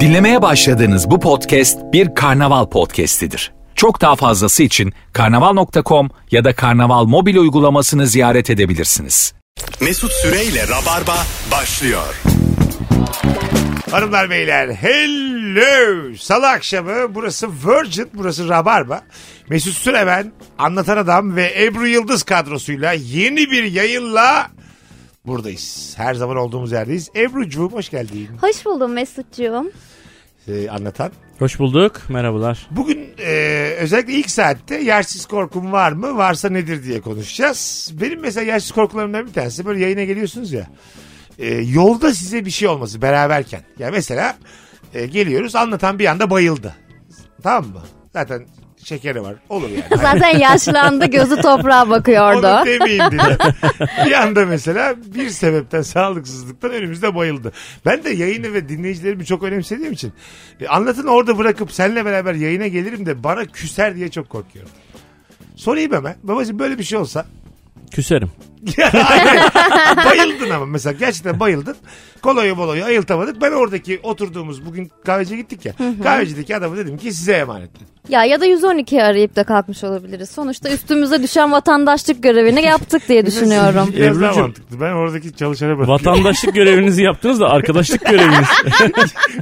Dinlemeye başladığınız bu podcast bir karnaval podcastidir. Çok daha fazlası için karnaval.com ya da karnaval mobil uygulamasını ziyaret edebilirsiniz. Mesut Süreyle Rabarba başlıyor. Hanımlar beyler hello salı akşamı burası Virgin burası Rabarba Mesut Süre ben Anlatan Adam ve Ebru Yıldız kadrosuyla yeni bir yayınla buradayız. Her zaman olduğumuz yerdeyiz. Ebru'cuğum hoş geldin Hoş buldum Mesut'cuğum. Ee, anlatan. Hoş bulduk. Merhabalar. Bugün e, özellikle ilk saatte yersiz korkum var mı varsa nedir diye konuşacağız. Benim mesela yersiz korkularımdan bir tanesi böyle yayına geliyorsunuz ya. e, yolda size bir şey olması beraberken. Ya mesela e, geliyoruz anlatan bir anda bayıldı. Tamam mı? Zaten şekeri var. Olur yani. Zaten yaşlandı gözü toprağa bakıyordu. Onu demeyin dedi. bir anda mesela bir sebepten sağlıksızlıktan önümüzde bayıldı. Ben de yayını ve dinleyicilerimi çok önemsediğim için e, anlatın orada bırakıp seninle beraber yayına gelirim de bana küser diye çok korkuyorum. Sorayım hemen. Babacığım böyle bir şey olsa. Küserim. Aynen. bayıldın ama mesela gerçekten bayıldın. Koloyu boloyu ayıltamadık. Ben oradaki oturduğumuz bugün kahveciye gittik ya. Kahvecideki adama dedim ki size emanet dedim. Ya ya da 112'yi arayıp da kalkmış olabiliriz. Sonuçta üstümüze düşen vatandaşlık görevini yaptık diye düşünüyorum. Biraz daha Ebru'cum. mantıklı. Ben oradaki çalışana bırakıyorum. Vatandaşlık görevinizi yaptınız da arkadaşlık göreviniz.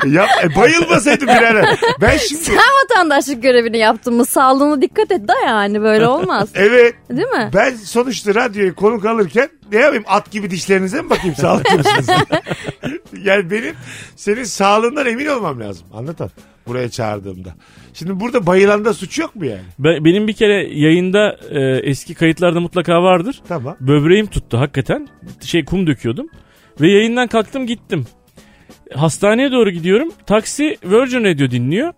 Ya e, bayılmasaydı birader. Ben şimdi... Sen vatandaşlık görevini yaptın mı? Sağlığına dikkat et da yani böyle olmaz. Evet. Değil mi? Ben sonuçta radyoya konuk alırken ne yapayım at gibi dişlerinize mi bakayım sağlıklı mısınız? yani benim senin sağlığından emin olmam lazım. Anlatan buraya çağırdığımda. Şimdi burada bayılanda suç yok mu yani? Be- Benim bir kere yayında e, eski kayıtlarda mutlaka vardır. Tamam. Böbreğim tuttu hakikaten. Şey kum döküyordum. Ve yayından kalktım gittim. Hastaneye doğru gidiyorum. Taksi Virgin Radio dinliyor.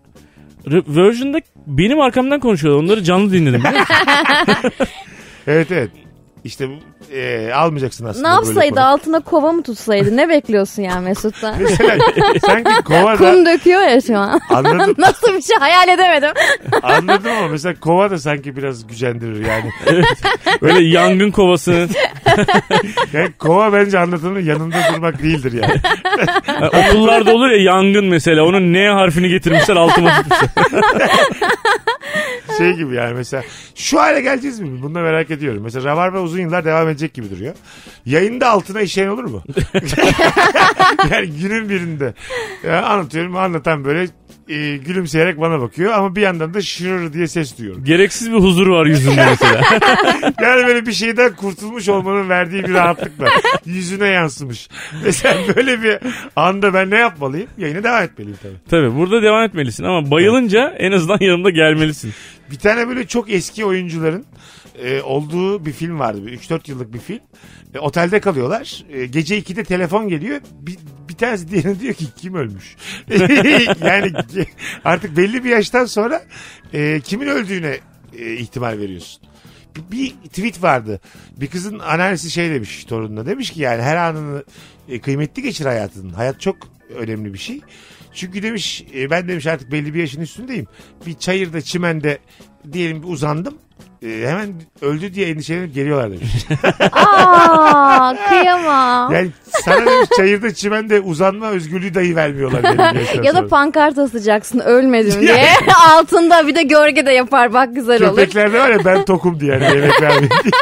R- Virgin'de benim arkamdan konuşuyorlar. Onları canlı dinledim. biliyor musun? Evet evet. İşte bu- e, almayacaksın aslında. ne böyle yapsaydı konu. altına kova mı tutsaydı? Ne bekliyorsun ya Mesut'tan? Mesela sanki kovada Kum döküyor ya şu an. anladım, Nasıl bir şey hayal edemedim. anladım ama mesela kova da sanki biraz gücendirir yani. Böyle yangın kovası. yani kova bence anlatanın yanında durmak değildir yani. Ha, okullarda olur ya yangın mesela. Onun N harfini getirmişler altıma tutmuşlar. Şey gibi yani mesela şu hale geleceğiz mi? Bunu da merak ediyorum. Mesela Rabarba uzun yıllar devam edecek gibi duruyor. Yayında altına işeyen olur mu? yani günün birinde ya anlatıyorum anlatan böyle e, gülümseyerek bana bakıyor ama bir yandan da şırır diye ses duyuyorum. Gereksiz bir huzur var yüzünde mesela. Yani böyle bir şeyden kurtulmuş olmanın verdiği bir rahatlıkla yüzüne yansımış. Mesela böyle bir anda ben ne yapmalıyım? Yayına devam etmeliyim tabii. Tabii burada devam etmelisin ama bayılınca en azından yanımda gelmelisin. Bir tane böyle çok eski oyuncuların e, olduğu bir film vardı. Bir 3-4 yıllık bir film. E, otelde kalıyorlar. E, gece 2'de telefon geliyor. Bir, bir tanesi diğerine diyor ki kim ölmüş? yani ge- artık belli bir yaştan sonra e, kimin öldüğüne e, ihtimal veriyorsun. Bir- Bir tweet vardı. Bir kızın anneannesi şey demiş torununa. Demiş ki yani her anını e, kıymetli geçir hayatının. Hayat çok önemli bir şey. Çünkü demiş e, ben demiş artık belli bir yaşın üstündeyim. Bir çayırda çimende diyelim bir uzandım. E, hemen öldü diye endişelenip geliyorlar demiş. Aa kıyamam. Yani sana demiş çayırda çimende uzanma özgürlüğü dahi vermiyorlar. belli bir yaştan Ya da sonra. pankart asacaksın ölmedim Ya. diye. Altında bir de gölge de yapar bak güzel olur. Köpeklerde var ya ben tokum diye yani yemek vermeyin diye.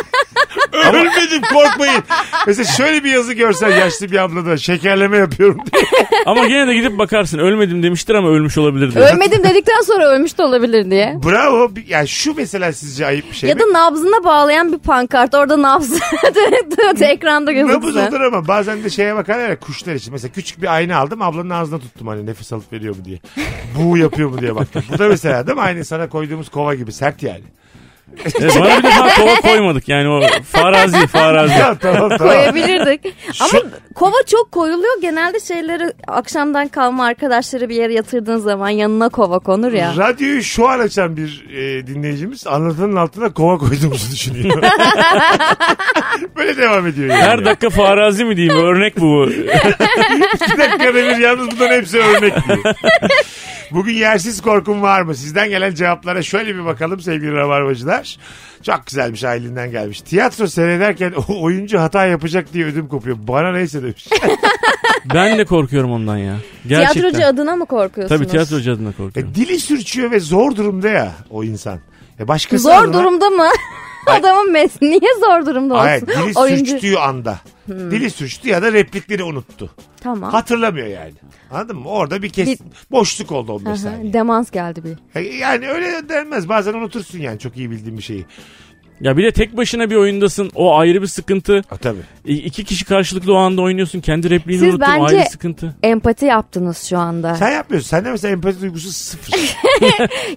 Ölmedim korkmayın. Mesela şöyle bir yazı görsen yaşlı bir abla da şekerleme yapıyorum diye. Ama gene de gidip bakarsın. Ölmedim demiştir ama ölmüş olabilir diye. Ölmedim dedikten sonra ölmüş de olabilir diye. Bravo. Bir- Yani şu mesela sizce ayıp bir şey Ya da mi? nabzına bağlayan bir pankart. Orada nabzı dönüp dönüp ekranda Nabız gözüksün. olur ama bazen de şeye bakarlar ya kuşlar için. Mesela küçük bir ayna aldım ablanın ağzına tuttum hani nefes alıp veriyor mu diye. Bu yapıyor mu diye baktım. Bu da mesela değil mi? Aynı sana koyduğumuz kova gibi sert yani. E, bana bir defa kova koymadık yani o farazi farazi. Ya tamam tamam. Koyabilirdik. Ama kova çok koyuluyor. Genelde şeyleri akşamdan kalma arkadaşları bir yere yatırdığın zaman yanına kova konur ya. Radyoyu şu an açan bir e, dinleyicimiz anlatanın altına kova koyduğumuzu düşünüyor. Böyle devam ediyor. Yani. Her dakika farazi mi diyeyim örnek bu. Bir dakikada bir yalnız bunların hepsi örnek diyor. Bugün yersiz korkum var mı? Sizden gelen cevaplara şöyle bir bakalım sevgili rabarbacılar. Çok güzelmiş Aylin'den gelmiş. Tiyatro seyrederken o oyuncu hata yapacak diye ödüm kopuyor. Bana neyse demiş. Ben de korkuyorum ondan ya. Gerçekten. Tiyatrocu adına mı korkuyorsunuz? Tabii tiyatrocu adına korkuyorum. E, dili sürçüyor ve zor durumda ya o insan. E başkası Zor adına- durumda mı? Adamın mes niye zor durumda olsun? Hmm. Hayır dili sürçtüğü anda. Dili sürçtü ya da replikleri unuttu. Tamam. Hatırlamıyor yani. Anladın mı? Orada bir kes... boşluk oldu 15 Aha, saniye. demans geldi bir. E, Yani öyle denmez. Bazen unutursun yani çok iyi bildiğin bir şeyi. Ya bir de tek başına bir oyundasın. O ayrı bir sıkıntı. Ha, tabii. İ- İki kişi karşılıklı o anda oynuyorsun. Kendi repliğini Siz unuttun. O bence- ayrı sıkıntı. Empati yaptınız şu anda. Sen yapmıyorsun. Sende mesela empati duygusu sıfır.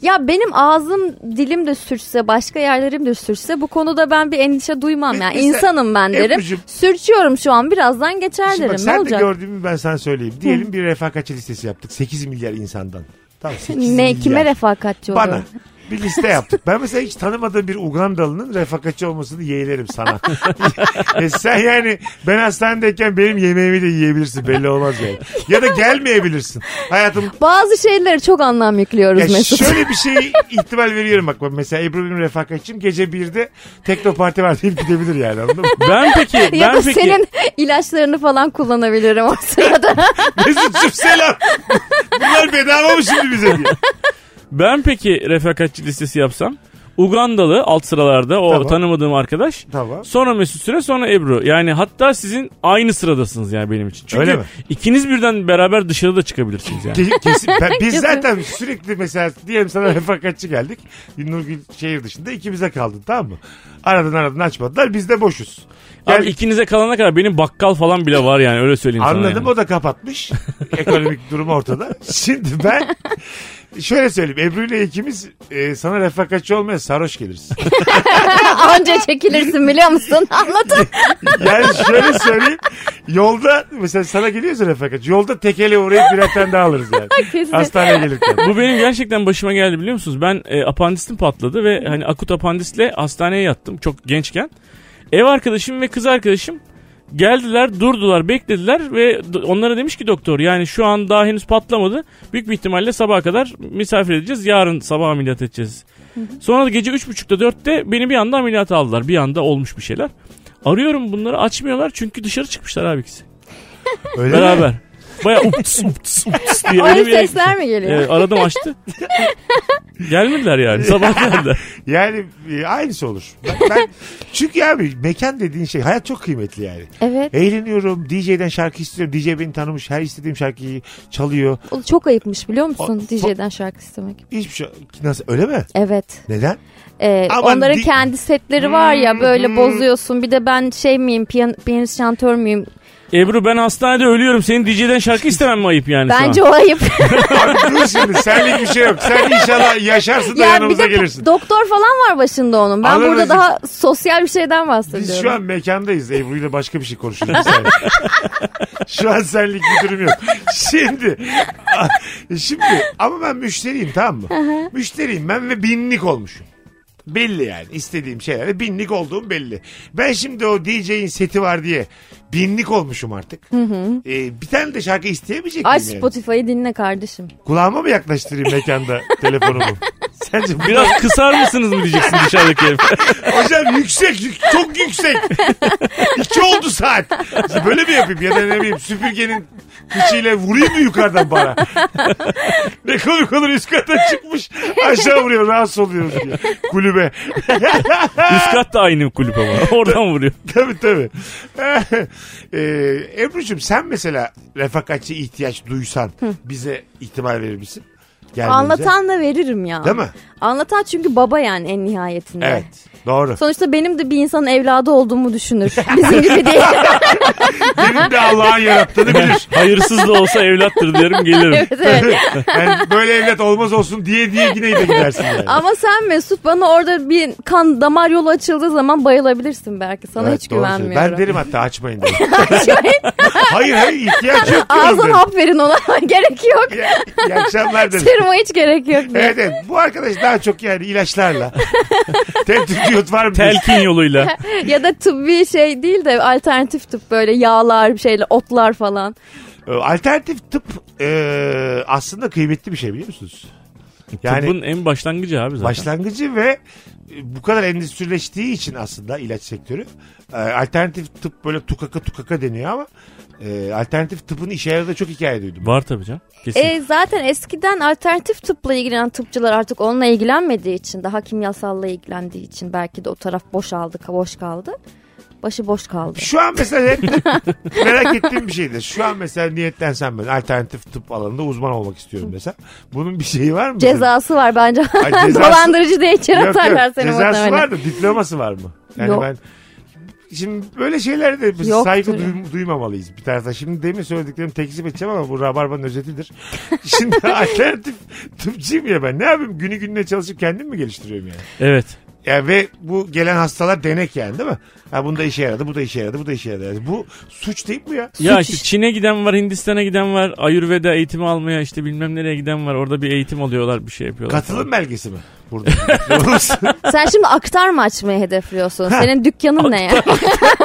Ya benim ağzım dilim de sürçse başka yerlerim de sürçse bu konuda ben bir endişe duymam. Yani Mesela insanım ben derim. E, Ebru'cum- Sürçüyorum şu an birazdan geçer Şimdi derim. bak, ne sen de olacak? gördüğümü ben sana söyleyeyim. Diyelim bir refakatçi listesi yaptık. 8 milyar insandan. Tamam 8 ne milyar. kime refakatçi oluyor? Bana. Bir liste yaptık. Ben mesela hiç tanımadığım bir Ugandalı'nın refakatçi olmasını yeğlerim sana. e sen yani ben hastanedeyken benim yemeğimi de yiyebilirsin belli olmaz yani. Ya da gelmeyebilirsin. Hayatım Bazı şeylere çok anlam yüklüyoruz ya Mesut. şöyle bir şey ihtimal veriyorum bak. Mesela Ebru benim refakatçim gece 1'de teknoparti var deyip gidebilir yani anladın mı? Ben peki, ya ben da peki. senin ilaçlarını falan kullanabilirim o sırada. Mesut'cum selam. Bunlar bedava mı şimdi bize diye. Ben peki refakatçi listesi yapsam. Ugandalı alt sıralarda o Tamam. tanımadığım arkadaş. Tamam. Sonra Mesut Süre sonra Ebru. Yani hatta sizin aynı sıradasınız yani benim için. Çünkü Öyle mi? ikiniz birden beraber dışarıda çıkabilirsiniz yani. Ke- kesin. Ben- biz Kesin. zaten sürekli mesela diyelim sana refakatçi geldik. Nurgül şehir dışında ikimize kaldın tamam mı? Aradın aradın açmadılar biz de boşuz. Abi Yani- ikinize kalana kadar benim bakkal falan bile var yani öyle söyleyeyim sana. Anladım yani. o da kapatmış. Ekonomik durum ortada. Şimdi ben şöyle söyleyeyim. Ebru ile ikimiz e, sana refakatçi olmaya sarhoş geliriz. Anca çekilirsin biliyor musun? Anlatın. Yani şöyle söyleyeyim. Yolda mesela sana geliyorsa refakatçi. Yolda tekele uğrayıp bir tane daha alırız yani. Kesin. Hastaneye gelirken. Bu benim gerçekten başıma geldi biliyor musunuz? Ben e, apandistim patladı ve hani akut apandisle hastaneye yattım çok gençken. Ev arkadaşım ve kız arkadaşım geldiler, durdular, beklediler ve d- onlara demiş ki doktor yani şu an daha henüz patlamadı. Büyük bir ihtimalle sabaha kadar misafir edeceğiz. Yarın sabah ameliyat edeceğiz. Sonra da gece 3.30'da 4'te beni bir anda ameliyata aldılar. Bir anda olmuş bir şeyler. Arıyorum bunları açmıyorlar çünkü dışarı çıkmışlar abi ikisi. Öyle mi? Beraber. Baya ups ups ups diye Aynı öyle bir yere sesler mi geliyor? ee, aradım açtı. Gelmediler yani sabah geldi. Yani e, aynısı olur. Ben, ben- çünkü abi mekan dediğin şey hayat çok kıymetli yani. Evet. E- Eğleniyorum. DJ'den şarkı istiyorum. DJ beni tanımış. Her istediğim şarkıyı çalıyor. O Çok ayıpmış biliyor musun O- DJ'den şarkı istemek? Hiçbir şey. Nasıl? Öyle mi? Evet. Neden? Ee, Aman onların di- kendi setleri var ya böyle hmm. bozuyorsun. Bir de ben şey miyim piyan piyanist şantör müyüm? Ebru ben hastanede ölüyorum. Senin DJ'den şarkı istemem mi ayıp yani Bence şu an? o ayıp. Abi dur şimdi. Senlik bir şey yok. Sen inşallah yaşarsın da yani bir yanımıza de gelirsin. doktor falan var başında onun. Ben Anladın burada mı? daha sosyal bir şeyden bahsediyorum. Biz şu an mekandayız. Ebru ile başka bir şey konuşuyoruz. Yani. şu an senlik bir durum yok. Şimdi şimdi ama ben müşteriyim tamam mı? müşteriyim ben ve binlik olmuşum. Belli yani istediğim şeylere binlik olduğum belli. Ben şimdi o DJ'in seti var diye binlik olmuşum artık. Ee, bir tane de şarkı isteyemeyecek Aç miyim yani? Spotify'ı dinle kardeşim. Kulağıma mı yaklaştırayım mekanda telefonumu? Sence bu- Biraz kısar mısınız mı diyeceksin dışarıdaki herife. Hocam yüksek, yük- çok yüksek. İki oldu saat. Böyle mi yapayım ya da ne bileyim süpürgenin kıçıyla vurayım mı yukarıdan bana? ne komik olur üst kata çıkmış aşağı vuruyor rahatsız oluyoruz diye. Kulübe. Üst kat da aynı kulüp ama. Oradan vuruyor. tabii tabii. ee, Ebru'cum sen mesela refakatçi ihtiyaç duysan bize ihtimal verir misin? Gelmeyince. Anlatan da veririm ya. Değil mi? Anlatan çünkü baba yani en nihayetinde. Evet. Doğru. Sonuçta benim de bir insanın evladı olduğumu düşünür. Bizim gibi değil. Benim de Allah'ın yarattığını bilir. Hayırsız da olsa evlattır derim gelirim. evet, evet. yani böyle evlat olmaz olsun diye diye yine de gidersin yani. Ama sen Mesut bana orada bir kan damar yolu açıldığı zaman bayılabilirsin belki. Sana Evet, hiç doğru söylüyorsun. güvenmiyorum. Ben derim hatta açmayın derim. hayır hayır ihtiyaç yok. diyorum Ağzına derim. hap verin ona. gerek yok. İyi, iyi akşamlar derim. Seruma hiç gerek yok. diye. Evet, evet bu arkadaş daha çok yani ilaçlarla. Tentür diyot var mı? Telkin yoluyla. ya da tıbbi şey değil de alternatif tıp böyle yağlar bir şeyler otlar falan. Ee, Alternatif tıp e, aslında kıymetli bir şey biliyor musunuz? Yani Tıbbın en başlangıcı abi zaten. başlangıcı ve e, bu kadar endüstrileştiği için aslında ilaç sektörü e, alternatif tıp böyle tukaka tukaka deniyor ama e, alternatif tıpın işe yaradığı çok hikaye duydum. Var tabii canım. Kesin. E, zaten eskiden alternatif tıpla ilgilenen tıpçılar artık onunla ilgilenmediği için daha kimyasalla ilgilendiği için belki de o taraf boşaldı, boş kaldı. Başı boş kaldı. Şu an mesela hep merak ettiğim bir şeydir. Şu an mesela niyetlensem ben alternatif tıp alanında uzman olmak istiyorum desem. Bunun bir şeyi var mı? Cezası var bence. Ay, cezası- Dolandırıcı diye içeri Yok, yok. atarlar seni Cezası muhtemelen. var mı? Diploması var mı? Yani Yok. ben Şimdi böyle şeylerde biz Yoktur. saygı duym- duymamalıyız bir tarafta. Şimdi demin söylediklerimi tekzip edeceğim ama bu rabarbanın özetidir. Şimdi alternatif tıpçıyım ya ben. Ne yapayım? Günü gününe çalışıp kendim mi geliştiriyorum yani? Evet. Ya ve bu gelen hastalar denek yani değil mi? Ha bunda işe yaradı, bu da işe yaradı, bu da işe yaradı. Yani bu suç değil mi ya? Ya işte Çin'e giden var, Hindistan'a giden var, Ayurveda eğitimi almaya işte bilmem nereye giden var. Orada bir eğitim alıyorlar, bir şey yapıyorlar. Katılım belgesi mi? Burada. Sen şimdi aktarma açmayı hedefliyorsun. Senin dükkanın ne ya?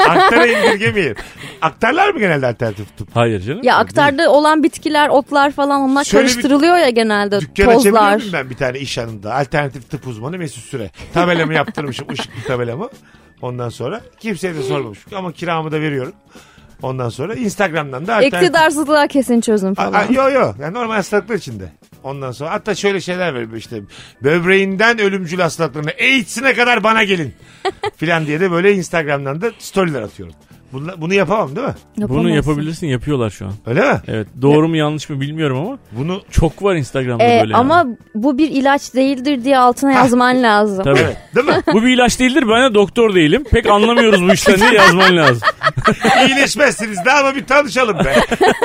Aktara indirgemeyin. Aktarlar mı genelde alternatif tıp? Hayır canım. Ya aktarda olan bitkiler, otlar falan onlar Şöyle bir karıştırılıyor ya genelde Dükkan açabilir tozlar. miyim ben bir tane iş yanında? Alternatif tıp uzmanı Mesut Süre. Tabelamı yaptırmışım. ışıklı tabelamı. Ondan sonra kimseye de sormamışım. Ama kiramı da veriyorum. Ondan sonra Instagram'dan da alternatif... İktidarsızlığa kesin çözüm A- falan. a- Yo yo. Yani normal hastalıklar içinde. Ondan sonra hatta şöyle şeyler veriyor işte böbreğinden ölümcül hastalıklarına AIDS'ine kadar bana gelin filan diye de böyle Instagram'dan da storyler atıyorum. Bunla- bunu yapamam değil mi? Bunu Yapamazsın. yapabilirsin, yapıyorlar şu an. Öyle mi? Evet. Doğru mu yanlış mı bilmiyorum ama Bunu çok var Instagram'da Ee, böyle. ama yani. bu bir ilaç değildir diye altına yazman lazım. Tabii. evet değil mi? Bu bir ilaç değildir. Ben de doktor değilim. Pek anlamıyoruz bu işten diye yazman lazım. İyileşmezsiniz de ama bir tanışalım be.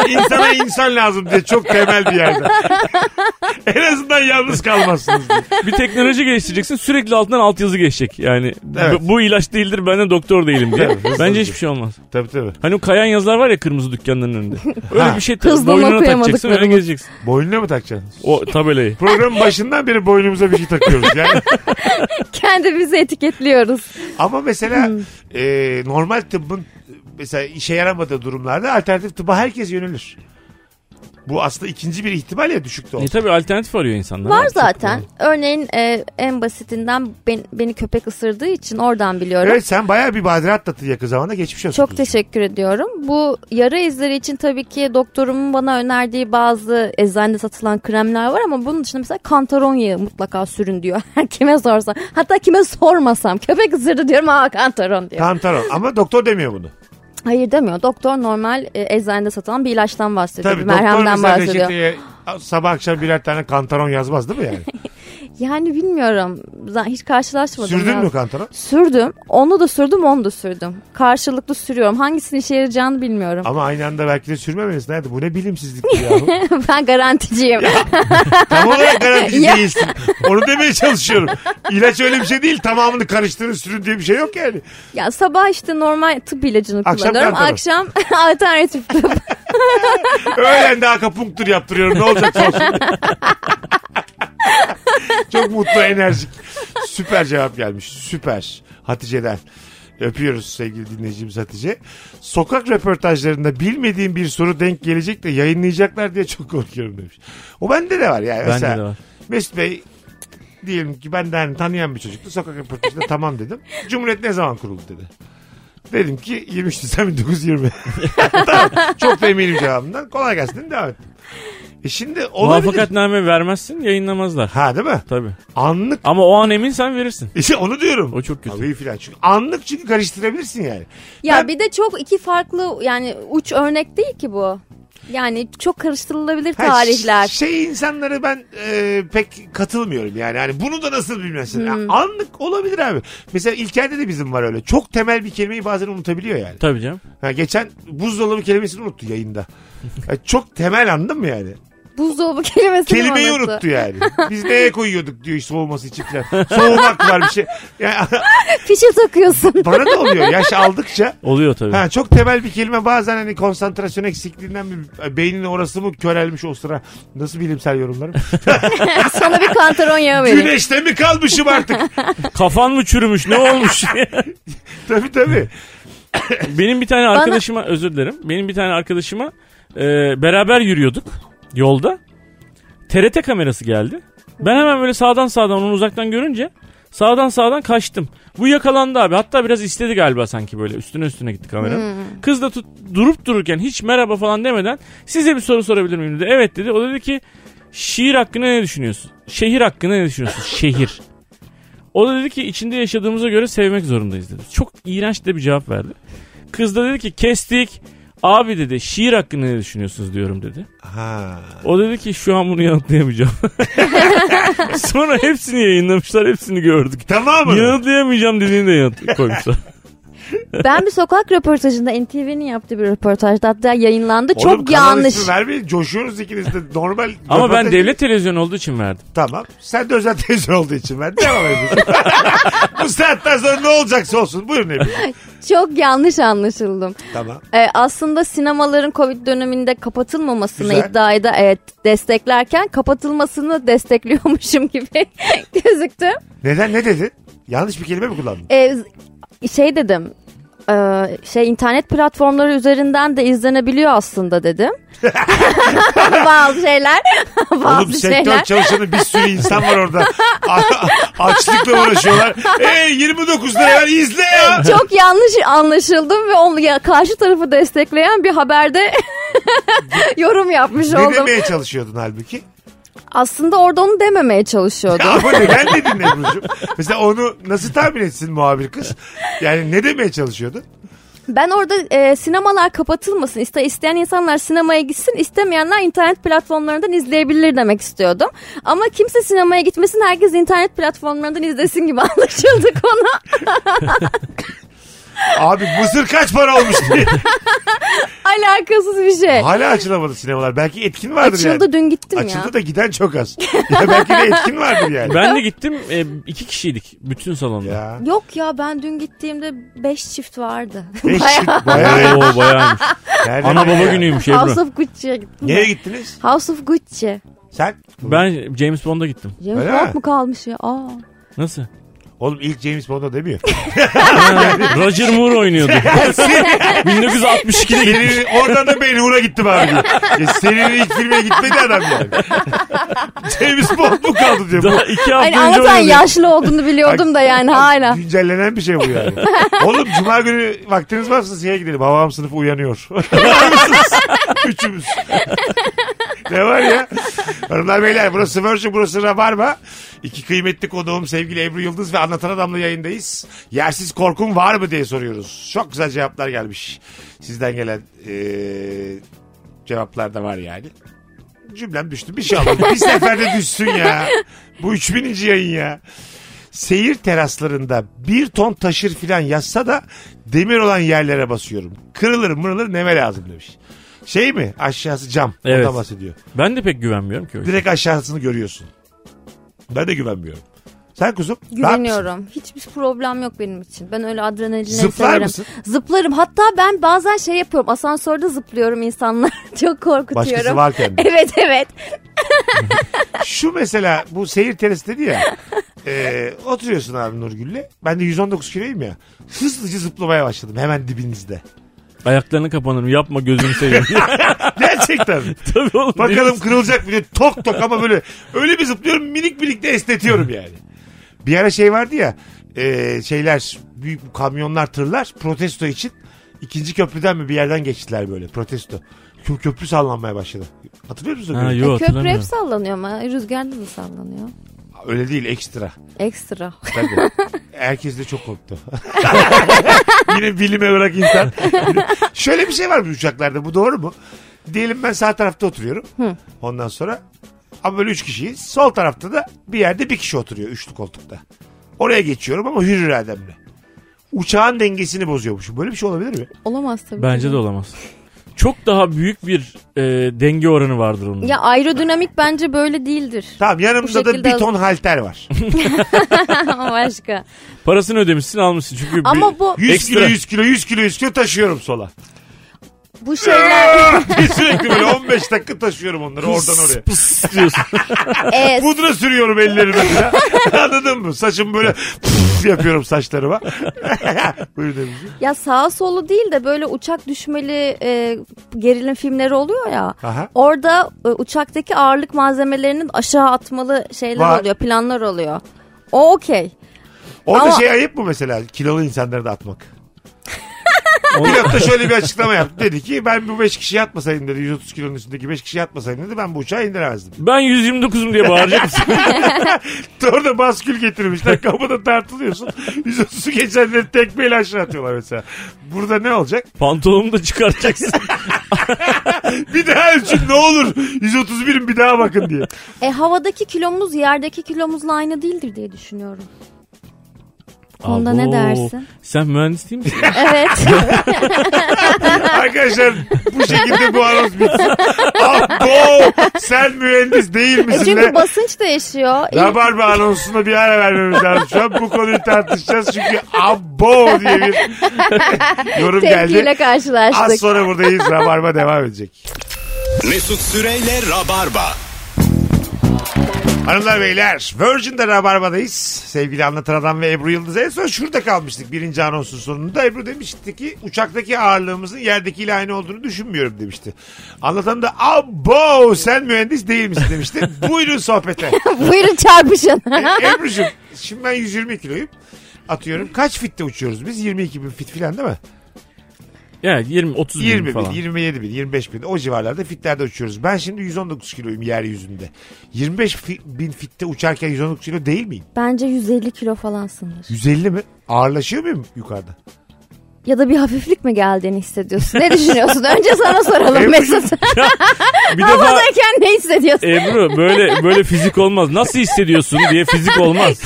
İnsana insan lazım diye çok temel bir yerde. en azından yalnız kalmazsınız diye. Bir teknoloji geliştireceksin. Sürekli altından altyazı geçecek. Yani b- Evet. bu ilaç değildir. Ben de doktor değilim diye. Evet, hızlı Bence hızlı. hiçbir şey olmaz. Tabii tabii. Hani o kayan yazılar var ya kırmızı dükkanların önünde. Öyle bir şey Hızlı boynuna okuyamadıklarımız. takacaksın öyle gezeceksin. Boynuna mı takacaksın? O tabelayı. Programın başından beri boynumuza bir şey takıyoruz yani. Kendimizi etiketliyoruz. Ama mesela e, normal tıbbın e, mesela işe yaramadığı durumlarda alternatif tıbba herkes yönelir. Bu aslında ikinci bir ihtimal ya düşükte E olsa. tabi alternatif arıyor insanlar. Var Çok zaten. kolay. Örneğin e, en basitinden ben- beni köpek ısırdığı için oradan biliyorum. Evet sen bayağı bir badire atlattın yakın zamanda geçmiş olsun. Çok teşekkür ediyorum. Bu yara izleri için tabii ki doktorumun bana önerdiği bazı eczanede satılan kremler var ama bunun dışında mesela kantaron yağı mutlaka sürün diyor. kime sorsam. Hatta kime sormasam. Köpek ısırdı diyorum aa kantaron diyor. Kantaron ama doktor demiyor bunu. Hayır demiyor. Doktor normal e, eczanede satılan bir ilaçtan bahsediyor. Tabii bir doktor merhemden mesela E bahsediyor. reçeteye sabah akşam birer tane kantaron yazmaz değil mi yani? Yani bilmiyorum. Z- Hiç karşılaşmadım. Sürdün ya. mü kantaron? Sürdüm. Onu da sürdüm, onu da sürdüm. Karşılıklı sürüyorum. Hangisinin işe yarayacağını bilmiyorum. Ama aynı anda belki de sürmemelisin. Hadi bu ne bilimsizlik bu yahu. ben garanticiyim. Tam olarak garantici Ya. değilsin. Onu demeye çalışıyorum. İlaç öyle bir şey değil. Tamamını karıştırın sürün diye bir şey yok yani. Ya sabah işte normal tıp ilacını Akşam kullanıyorum. kantarım. Akşam alternatif tıp. Öğlen de akapunktur yaptırıyorum. Ne olacak olsun. Çok mutlu enerjik. Süper cevap gelmiş. Süper. Hatice'den. Öpüyoruz sevgili dinleyicimiz Hatice. Sokak röportajlarında bilmediğim bir soru denk gelecek de yayınlayacaklar diye çok korkuyorum demiş. O bende de var yani. Bende Mesela de var. Mesut Bey diyelim ki ben de hani tanıyan bir çocuktu. Sokak röportajında tamam dedim. Cumhuriyet ne zaman kuruldu dedi. Dedim ki 23 Nisan 1920. tamam, çok da eminim cevabından. Kolay gelsin dedim, devam ettim. E şimdi olabilir. Muvafakatname vermezsin yayınlamazlar. Ha değil mi? Tabi. Anlık. Ama o an eminsen verirsin. İşte onu diyorum. O çok kötü. Abi filan. Çünkü anlık çünkü karıştırabilirsin yani. Ben- ya bir de çok iki farklı yani uç örnek değil ki bu. Yani çok karıştırılabilir Ha, tarihler. ş- Şey insanları ben e, pek katılmıyorum yani. Hani bunu da nasıl bilmesin. Ya, anlık olabilir abi. Mesela İlker'de de bizim var öyle. Çok temel bir kelimeyi bazen unutabiliyor yani. Tabi canım. Ha, geçen buzdolabı kelimesini unuttu yayında. Ya, çok temel anladın mı yani? Buzdolabı kelimesini Kelimeyi unuttu. unuttu yani. Biz neye koyuyorduk diyor soğuması için falan. Soğumak var bir şey. Yani, Fişe takıyorsun. bana da oluyor yaş aldıkça. Oluyor tabi. Ha, çok temel bir kelime bazen hani konsantrasyon eksikliğinden mi beynin orası mı körelmiş o sıra nasıl bilimsel yorumlarım? Sana bir kantaron yağı vereyim. Güneşte mi kalmışım artık? Kafan mı çürümüş ne olmuş? tabii tabii. Benim bir tane arkadaşıma özür dilerim. Benim bir tane arkadaşıma e, beraber yürüyorduk yolda. TRT kamerası geldi. Ben hemen böyle sağdan sağdan onu uzaktan görünce sağdan sağdan kaçtım. Bu yakalandı abi. Hatta biraz istedi galiba sanki böyle. Üstüne üstüne gitti kamera. Kız da tut, durup dururken hiç merhaba falan demeden size bir soru sorabilir miyim dedi. Evet dedi. O dedi ki şiir hakkında ne düşünüyorsun? Şehir hakkında ne düşünüyorsun? Şehir. O da dedi ki içinde yaşadığımıza göre sevmek zorundayız dedi. Çok iğrenç de bir cevap verdi. Kız da dedi ki kestik. Abi dedi şiir hakkında ne düşünüyorsunuz diyorum dedi. Ha. O dedi ki şu an bunu yanıtlayamayacağım. Sonra hepsini yayınlamışlar hepsini gördük. Tamam mı? Yanıtlayamayacağım dediğini de yanıt koymuşlar. Ben bir sokak röportajında NTV'nin yaptığı bir röportajda hatta yayınlandı. Oğlum, Çok kanal yanlış. ismi Vermeyin coşuyoruz ikiniz de normal. Ama ben röportaj- devlet televizyonu olduğu için verdim. Tamam. Sen de özel televizyon olduğu için ben devam ediyorum. Bu saatten sonra ne olacaksa olsun. Buyurun Ebru'cum. Çok yanlış anlaşıldım. Tamam. Ee, aslında sinemaların Covid döneminde kapatılmamasını Güzel. iddiayı da evet, desteklerken kapatılmasını destekliyormuşum gibi gözüktü. Neden ne dedin? Yanlış bir kelime mi kullandın? Ee, z- şey dedim. ee, şey internet platformları üzerinden de izlenebiliyor aslında dedim. bazı şeyler, bazı Oğlum sektör şeyler. çalışanı bir sürü insan var orada. A- Açlıkla uğraşıyorlar. Ee 29 lira ver izle ya. Çok yanlış anlaşıldım ve onu ya, karşı tarafı destekleyen bir haberde yorum yapmış Ne oldum. demeye çalışıyordun halbuki? Aslında orada onu dememeye çalışıyordum. Ama neden dedin Ebru'cum? Mesela onu nasıl tahmin etsin muhabir kız? Yani ne demeye çalışıyordun? Ben orada e, sinemalar kapatılmasın. İste, isteyen insanlar sinemaya gitsin, istemeyenler internet platformlarından izleyebilir demek istiyordum. Ama kimse sinemaya gitmesin, herkes internet platformlarından izlesin gibi anlaşıldı konu. Abi mısır kaç para olmuş diye. Alakasız bir şey. Hala açılamadı sinemalar. Belki etkin vardır yani. Açıldı dün gittim Açıldı ya. da giden çok az. Ya belki de etkin vardır yani. Ben de gittim e, iki kişiydik bütün salonda. Ya. Yok ya ben dün gittiğimde 5 çift vardı. Beş çift bayağı. Oo bayağıymış. Nereden Ee, Ana baba ya? günüymüş House Ebru. of Gucci'ye gittim. Nereye ben. gittiniz? House of Gucci. Sen? Ben James Bond'a gittim. James Öyle mi? Bond mu kalmış ya? Aa. Nasıl? Oğlum ilk James Bond'a demiyor. Roger Moore oynuyordu. 1962'de gitmiş. Senin, oradan da Ben Hur'a gittim abi. diyor. Ya senin ilk filme gitmedi adam yani. James Bond mu kaldı diyor. Bu- Daha iki hafta Hani önce Allah'tan oynadı. yaşlı olduğunu biliyordum da yani hala. Güncellenen bir şey bu yani. Oğlum cuma günü vaktiniz varsa şeye gidelim. Havam sınıfı uyanıyor. Var mısınız? Üçümüz. ne var ya? Hanımlar beyler burası Virgin burası Rabarba. İki kıymetli konuğum sevgili Ebru Yıldız ve Anlatan Adam'la yayındayız. Yersiz korkun var mı diye soruyoruz. Çok güzel cevaplar gelmiş. Sizden gelen eee, cevaplar da var yani. Cümlem düştü. Bir şey alalım. Bir seferde düşsün ya. Bu 3000. yayın ya seyir teraslarında bir ton taşır filan yazsa da demir olan yerlere basıyorum. Kırılır mırılır neme lazım demiş. Şey mi? Aşağısı cam. Evet. Ondan bahsediyor. Ben de pek güvenmiyorum ki. öyle. Direkt aşağısını görüyorsun. Ben de güvenmiyorum. Sen kuzum? ne yapmışsın? Güveniyorum. Hiçbir problem yok benim için. Ben öyle adrenalini Zıplar severim. mısın? Zıplarım. Hatta ben bazen şey yapıyorum. Asansörde zıplıyorum insanlar. Çok korkutuyorum. Başkası varken de. Evet evet. Şu mesela bu seyir terası dedi ya. e, oturuyorsun abi Nurgül'le. Ben de 119 kiloyum ya. Hızlıca zıplamaya başladım hemen dibinizde. Ayaklarını kapanırım. Yapma gözünü seveyim. Gerçekten. Tabii oğlum. Bakalım kırılacak mı diye tok tok ama böyle öyle bir zıplıyorum minik minik de esnetiyorum yani. Bir ara şey vardı ya e, şeyler büyük kamyonlar tırlar protesto için ikinci köprüden mi bir yerden geçtiler böyle protesto. Kö- köprü sallanmaya başladı. Hatırlıyor musun? Ha, Böyle? yok, E, Köprü hep hatırlamıyorum. sallanıyor ama rüzgarda da sallanıyor. Öyle değil ekstra. Ekstra. Tabii. Herkes de çok korktu. Yine bilime bırak insan. Şöyle bir şey var bu uçaklarda bu doğru mu? Diyelim ben sağ tarafta oturuyorum. Ondan sonra ama böyle üç kişiyiz. Sol tarafta da bir yerde bir kişi oturuyor üçlü koltukta. Oraya geçiyorum ama hür irademle. Uçağın dengesini bozuyormuşum. Böyle bir şey olabilir mi? Olamaz tabii. Bence de olamaz. Çok daha büyük bir e, denge oranı vardır onun. Ya aerodinamik bence böyle değildir. Tamam yanımda Bu da şekilde bir ton halter var. Başka. Parasını ödemişsin almışsın çünkü bir- Ama bu 100 Ekstra. kilo 100 kilo 100 kilo 100 kilo taşıyorum sola. bu şeyler diye sürekli böyle 15 dakika taşıyorum onları oradan oraya. Pıs diyorsun. e, Pudra sürüyorum ellerime falan. Anladın mı? Saçım böyle yapıyorum saçlarıma. Buyur demişim. ya sağa solu değil de böyle uçak düşmeli e, gerilim filmleri oluyor ya. Aha. Orada e, uçaktaki ağırlık malzemelerinin aşağı atmalı şeyler Var. oluyor, planlar oluyor. O okey. Orada Ama- şey ayıp mı mesela? Kilolu insanları da atmak. Pilot da şöyle bir açıklama yaptı. Dedi ki ben bu 5 kişi yatmasaydım dedi. 130 kilonun üstündeki 5 kişi yatmasaydım dedi. Ben bu uçağı indiremezdim. Ben 129'um diye bağıracak mısın? Orada baskül getirmişler. Kapıda tartılıyorsun. 130 geçenleri tekmeyle aşağı atıyorlar mesela. Burada ne olacak? Pantolonumu da çıkartacaksın. Bir daha ölçün ne olur. 131'in bir daha bakın diye. E havadaki kilomuz yerdeki kilomuzla aynı değildir diye düşünüyorum. Onda ne Abo. dersin? Sen mühendis değil misin? Evet. Arkadaşlar bu şekilde bu anons bitsin. Abo sen mühendis değil E, misin? çünkü Ne? basınç değişiyor. İlk- Rabarba anonsuna bir ara vermemiz lazım. Şu an bu konuyu tartışacağız çünkü abo diye bir yorum tepkiyle geldi. Az karşılaştık. sonra buradayız. Rabarba devam edecek. Mesut Süreyle Rabarba. Hanımlar beyler Virgin'de Rabarba'dayız. Sevgili Anlatan Adam ve Ebru Yıldız en son şurada kalmıştık birinci anonsun sonunda. Ebru demişti ki uçaktaki ağırlığımızın yerdekiyle aynı olduğunu düşünmüyorum demişti. Anlatan da abo sen mühendis değil misin demişti. Buyurun sohbete. E, Buyurun çarpışın. Ebru'cum şimdi ben 120 kiloyum. Atıyorum kaç fitte uçuyoruz biz? 22 bin fit filan değil mi? Yani 20 30 bin 20 bin, falan. 27 bin, 25 bin o civarlarda fitlerde uçuyoruz. Ben şimdi 119 kiloyum yeryüzünde. 25 fi- bin fitte uçarken 119 kilo değil miyim? Bence 150 kilo falansındır. 150 mi? Ağırlaşıyor muyum yukarıda? Ya da bir hafiflik mi geldiğini hissediyorsun? Ne düşünüyorsun? Önce sana E, soralım Mesut. Bir defa Havadayken ne hissediyorsun? Ebru böyle böyle fizik olmaz. Nasıl hissediyorsun diye fizik olmaz.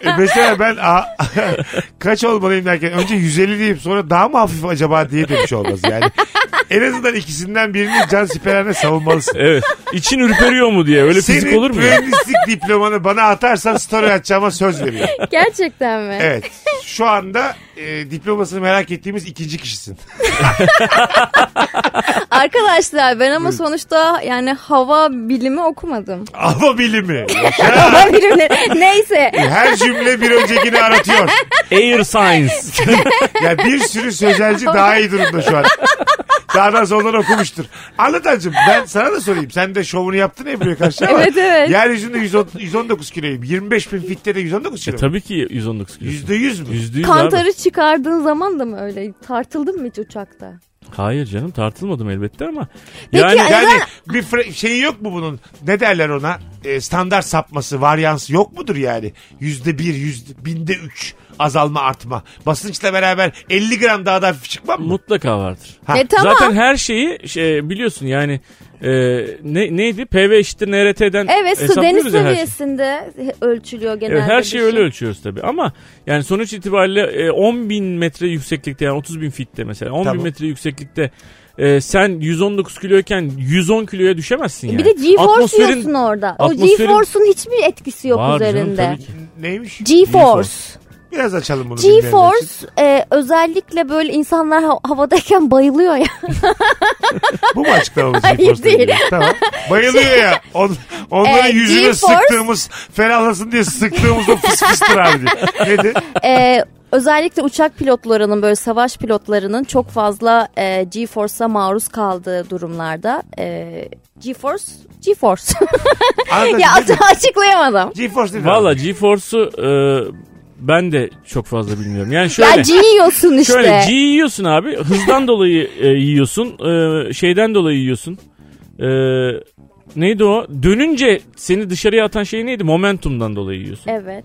E mesela ben a- kaç olmalıyım derken önce 150 deyip sonra daha mı hafif acaba diye demiş olmaz yani. En azından ikisinden birini can siperhane savunmalısın. Evet. İçin ürperiyor mu diye. Öyle fizik Senin olur mu ya? mühendislik diplomanı bana atarsan story atacağıma söz veriyorum. Gerçekten mi? Evet. Şu anda e, diplomasını merak ettiğimiz ikinci kişisin. Arkadaşlar ben ama sonuçta yani hava bilimi okumadım. Ama bilimi. hava bilimleri neyse. Her cümle bir öncekini aratıyor. Air science. Ya bir sürü sözelci daha iyi durumda şu an. Sağdan soldan okumuştur. Anlatancım ben sana da sorayım. Sen de şovunu yaptın Ebru'ya karşı ama. Evet, evet. Yeryüzünde 110 119 kiloyum. 25 bin fitte de 119 kilo. E, tabii ki 119 kilo. Yüzde yüz mü? Yüzde yüz abi. Kantarı çıkardığın zaman da mı öyle? Tartıldın mı hiç uçakta? Hayır canım tartılmadım elbette ama. Peki, yani e- Yani bir fre- şeyi yok mu bunun? Ne derler ona? E, standart sapması, varyansı yok mudur yani? Yüzde bir, yüzde, binde üç azalma artma. Basınçla beraber 50 gram daha da hafif çıkmam mı? mutlaka vardır. Ha, e tamam. Zaten her şeyi şey, biliyorsun yani e, ne, neydi? PV eşittir NRT'den Evet su hesaplıyoruz deniz ya her şeyi. seviyesinde ölçülüyor genelde. Evet, her bir şeyi öyle ölçüyoruz tabii ama yani sonuç itibariyle e, 10 bin metre yükseklikte yani 30 bin fitte mesela 10 Tamam. bin metre yükseklikte e, sen 119 kiloyken 110 kiloya düşemezsin yani. E, Bir de G-Force Atmosferin- diyorsun orada. O atmosferin- G-Force'un hiçbir etkisi yok Var canım, üzerinde. tabii ki. Neymiş? G-Force. Biraz açalım bunu. dinleyenler için. G-Force e, özellikle böyle insanlar ha- havadayken bayılıyor ya. Bu mu açıklamamız Hayır, GeForce'la değil. Şey, ilgili? Tamam. Bayılıyor ya. On, onların Ee, yüzüne GeForce- sıktığımız, ferahlasın diye sıktığımız o fıs fıstır abi diye. Nedir? E, özellikle uçak pilotlarının böyle savaş pilotlarının çok fazla e, G-Force'a maruz kaldığı durumlarda e, G-Force, G-Force. Anladın ya mı? açıklayamadım. GeForce nedir? Valla GeForce'u e, ben de çok fazla bilmiyorum. Yani şöyle. Ya G yiyorsun işte. Şöyle G yiyorsun abi. Hızdan dolayı e, yiyorsun. e, şeyden dolayı yiyorsun. E, neydi o? Dönünce seni dışarıya atan şey neydi? Momentumdan dolayı yiyorsun. Evet.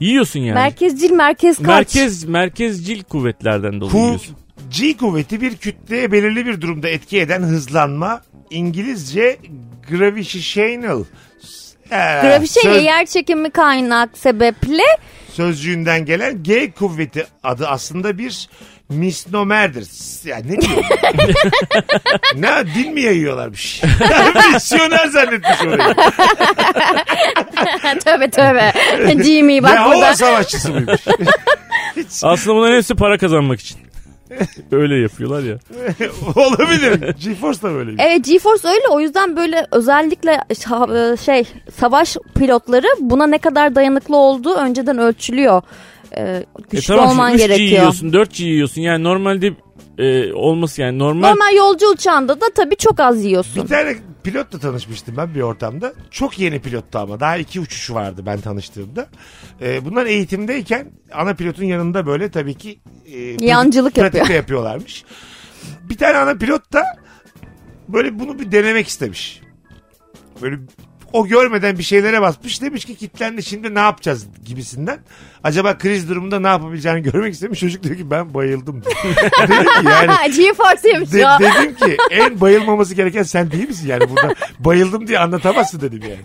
Yiyorsun yani. Merkezcil merkez kaç. merkez merkezcil kuvvetlerden dolayı Ku- yiyorsun. G kuvveti bir kütleye belirli bir durumda etki eden hızlanma. İngilizce gravitational. Ee, Grafişe söz- şey, yer çekimi kaynak sebeple sözcüğünden gelen G kuvveti adı aslında bir misnomerdir. Yani ne diyor? ne din mi yayıyorlarmış? Misyoner zannetmiş orayı. tövbe tövbe. Jimmy bak Yahova burada. savaşçısı mıymış? Hiç. Aslında bunların hepsi para kazanmak için. Öyle yapıyorlar ya. E, Olabilir. GeForce da böyleymiş. Evet GeForce öyle o yüzden böyle özellikle şa- şey savaş pilotları buna ne kadar dayanıklı olduğu önceden ölçülüyor. Ee, güçlü e tamam, şimdi olman 3G gerekiyor. yiyorsun 4G yiyorsun yani normalde e, olması yani normal. Normal yolcu uçağında da tabii çok az Bir yiyorsun. tane pilotla tanışmıştım ben bir ortamda. Çok yeni pilottu ama. Daha iki uçuşu vardı ben tanıştığımda. Ee, bunlar eğitimdeyken ana pilotun yanında böyle tabii ki e, pratik- Yancılık pratik yapıyor. de yapıyorlarmış. Bir tane ana pilot da böyle bunu bir denemek istemiş. Böyle o görmeden bir şeylere basmış. Demiş ki kitlendi şimdi ne yapacağız gibisinden. Acaba kriz durumunda ne yapabileceğini görmek istemiş. Çocuk diyor ki ben bayıldım. Dedim ki yani GeForce'ymiş de- ya. dedim ki en bayılmaması gereken sen değil misin yani burada bayıldım diye anlatamazsın dedim yani.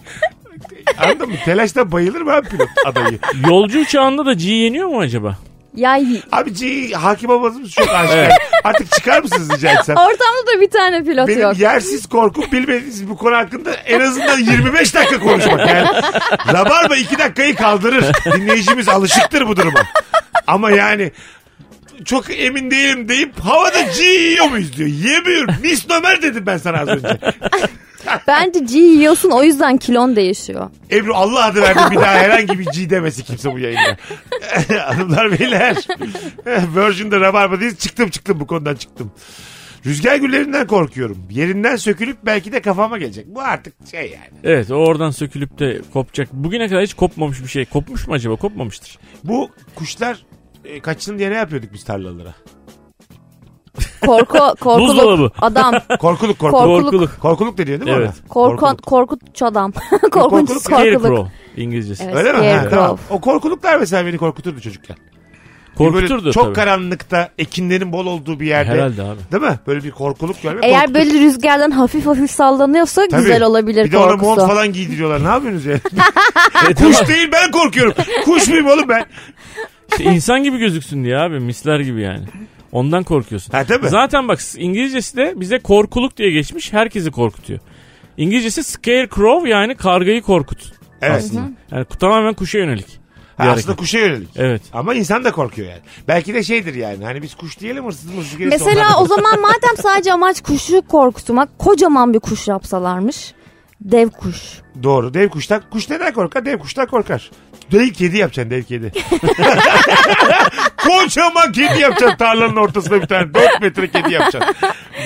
Anladın mı? Telaştan bayılır mı abi pilot adayı? Yolcu uçağında da G yeniyor mu acaba? Ya y- Abi G, hakim olmadığımız çok aşikar. Artık çıkar mısınız rica etsem? ortamda da bir tane pilot Benim yok. yersiz korkum bilmediğiniz bu konu hakkında en azından 25 dakika konuşmak yani. Rabarba 2 dakikayı kaldırır. Dinleyicimiz alışıktır bu duruma. Ama yani çok emin değilim deyip havada G yiyor muyuz diyor. Yemiyorum. Misnomer dedim ben sana az önce. Bence G yiyorsun o yüzden kilon değişiyor. Ebru Allah adı verdi bir daha herhangi bir G demesi kimse bu yayında. Hanımlar beyler. Virgin'de Rabarba'dayız. Çıktım çıktım bu konudan çıktım. Rüzgar güllerinden korkuyorum. Yerinden sökülüp belki de kafama gelecek. Bu artık şey yani. Evet o oradan sökülüp de kopacak. Bugüne kadar hiç kopmamış bir şey. Kopmuş mu acaba? Kopmamıştır. Bu kuşlar e, kaçsın diye ne yapıyorduk biz tarlalara? Korku korkuluk Buzdolabı. adam. Korkuluk korkuluk. Korkuluk. Korkuluk. Korkuluk deniyor değil mi Evet. ona? Korkun, Korkuluk. korkutç adam. Korkunç Korkuluk. korkuluk. Scarecrow İngilizcesi. Evet. Öyle mi? Ha, Scarecrow. tamam. O korkuluklar mesela beni korkuturdu çocukken. Bir böyle Korkuturdu Çok tabii. karanlıkta, ekinlerin bol olduğu bir yerde. Herhalde abi. Değil mi? Böyle bir korkuluk görmek Eğer korkutucu. böyle rüzgardan hafif hafif sallanıyorsa Tabii. güzel olabilir Bir de ona mont korkusu. falan giydiriyorlar. Ne yapıyorsunuz ya? E, Evet, ama Kuş değil ben korkuyorum. Kuş muyum oğlum ben? işte insan gibi gözüksün diye abi. Misler gibi yani. Ondan korkuyorsun. Ha tabii. Zaten bak İngilizcesi de bize korkuluk diye geçmiş. Herkesi korkutuyor. İngilizcesi scarecrow yani kargayı korkut. evet. Aslında. Yani tamamen kuşa yönelik. Ha, aslında kuşa yönelik. Evet. Ama insan da korkuyor yani. Belki de şeydir yani. Hani biz kuş diyelim hırsız mırsız gelirse Mesela onlardan- o zaman madem sadece amaç kuşu korkutmak kocaman bir kuş yapsalarmış. Dev kuş. Doğru. Dev kuştan. Kuş neden korkar? Dev kuştan korkar. Dev kedi yapacaksın dev kedi. Kocaman kedi yapacaksın tarlanın ortasına bir tane. 4 metre kedi yapacaksın.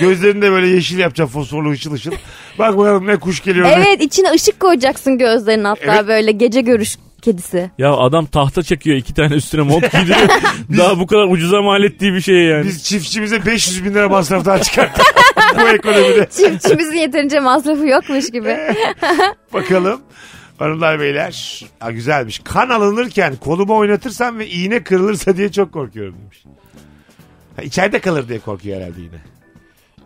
Gözlerini de böyle yeşil yapacaksın fosforlu ışıl ışıl. Bak bakalım ne kuş geliyor. ne- Evet içine ışık koyacaksın gözlerine hatta Evet. böyle gece görüş kedisi. Ya adam tahta çekiyor iki tane üstüne mont giydiriyor. Daha bu kadar ucuza mal ettiği bir şey yani. Biz çiftçimize 500 bin lira masraf daha çıkarttık bu ekonomide. Çiftçimizin yeterince masrafı yokmuş gibi. Bakalım. Hanımlar beyler. Ha, güzelmiş. Kan alınırken kolumu oynatırsam ve iğne kırılırsa diye çok korkuyorum demiş. Ha, içeride kalır diye korkuyor herhalde yine.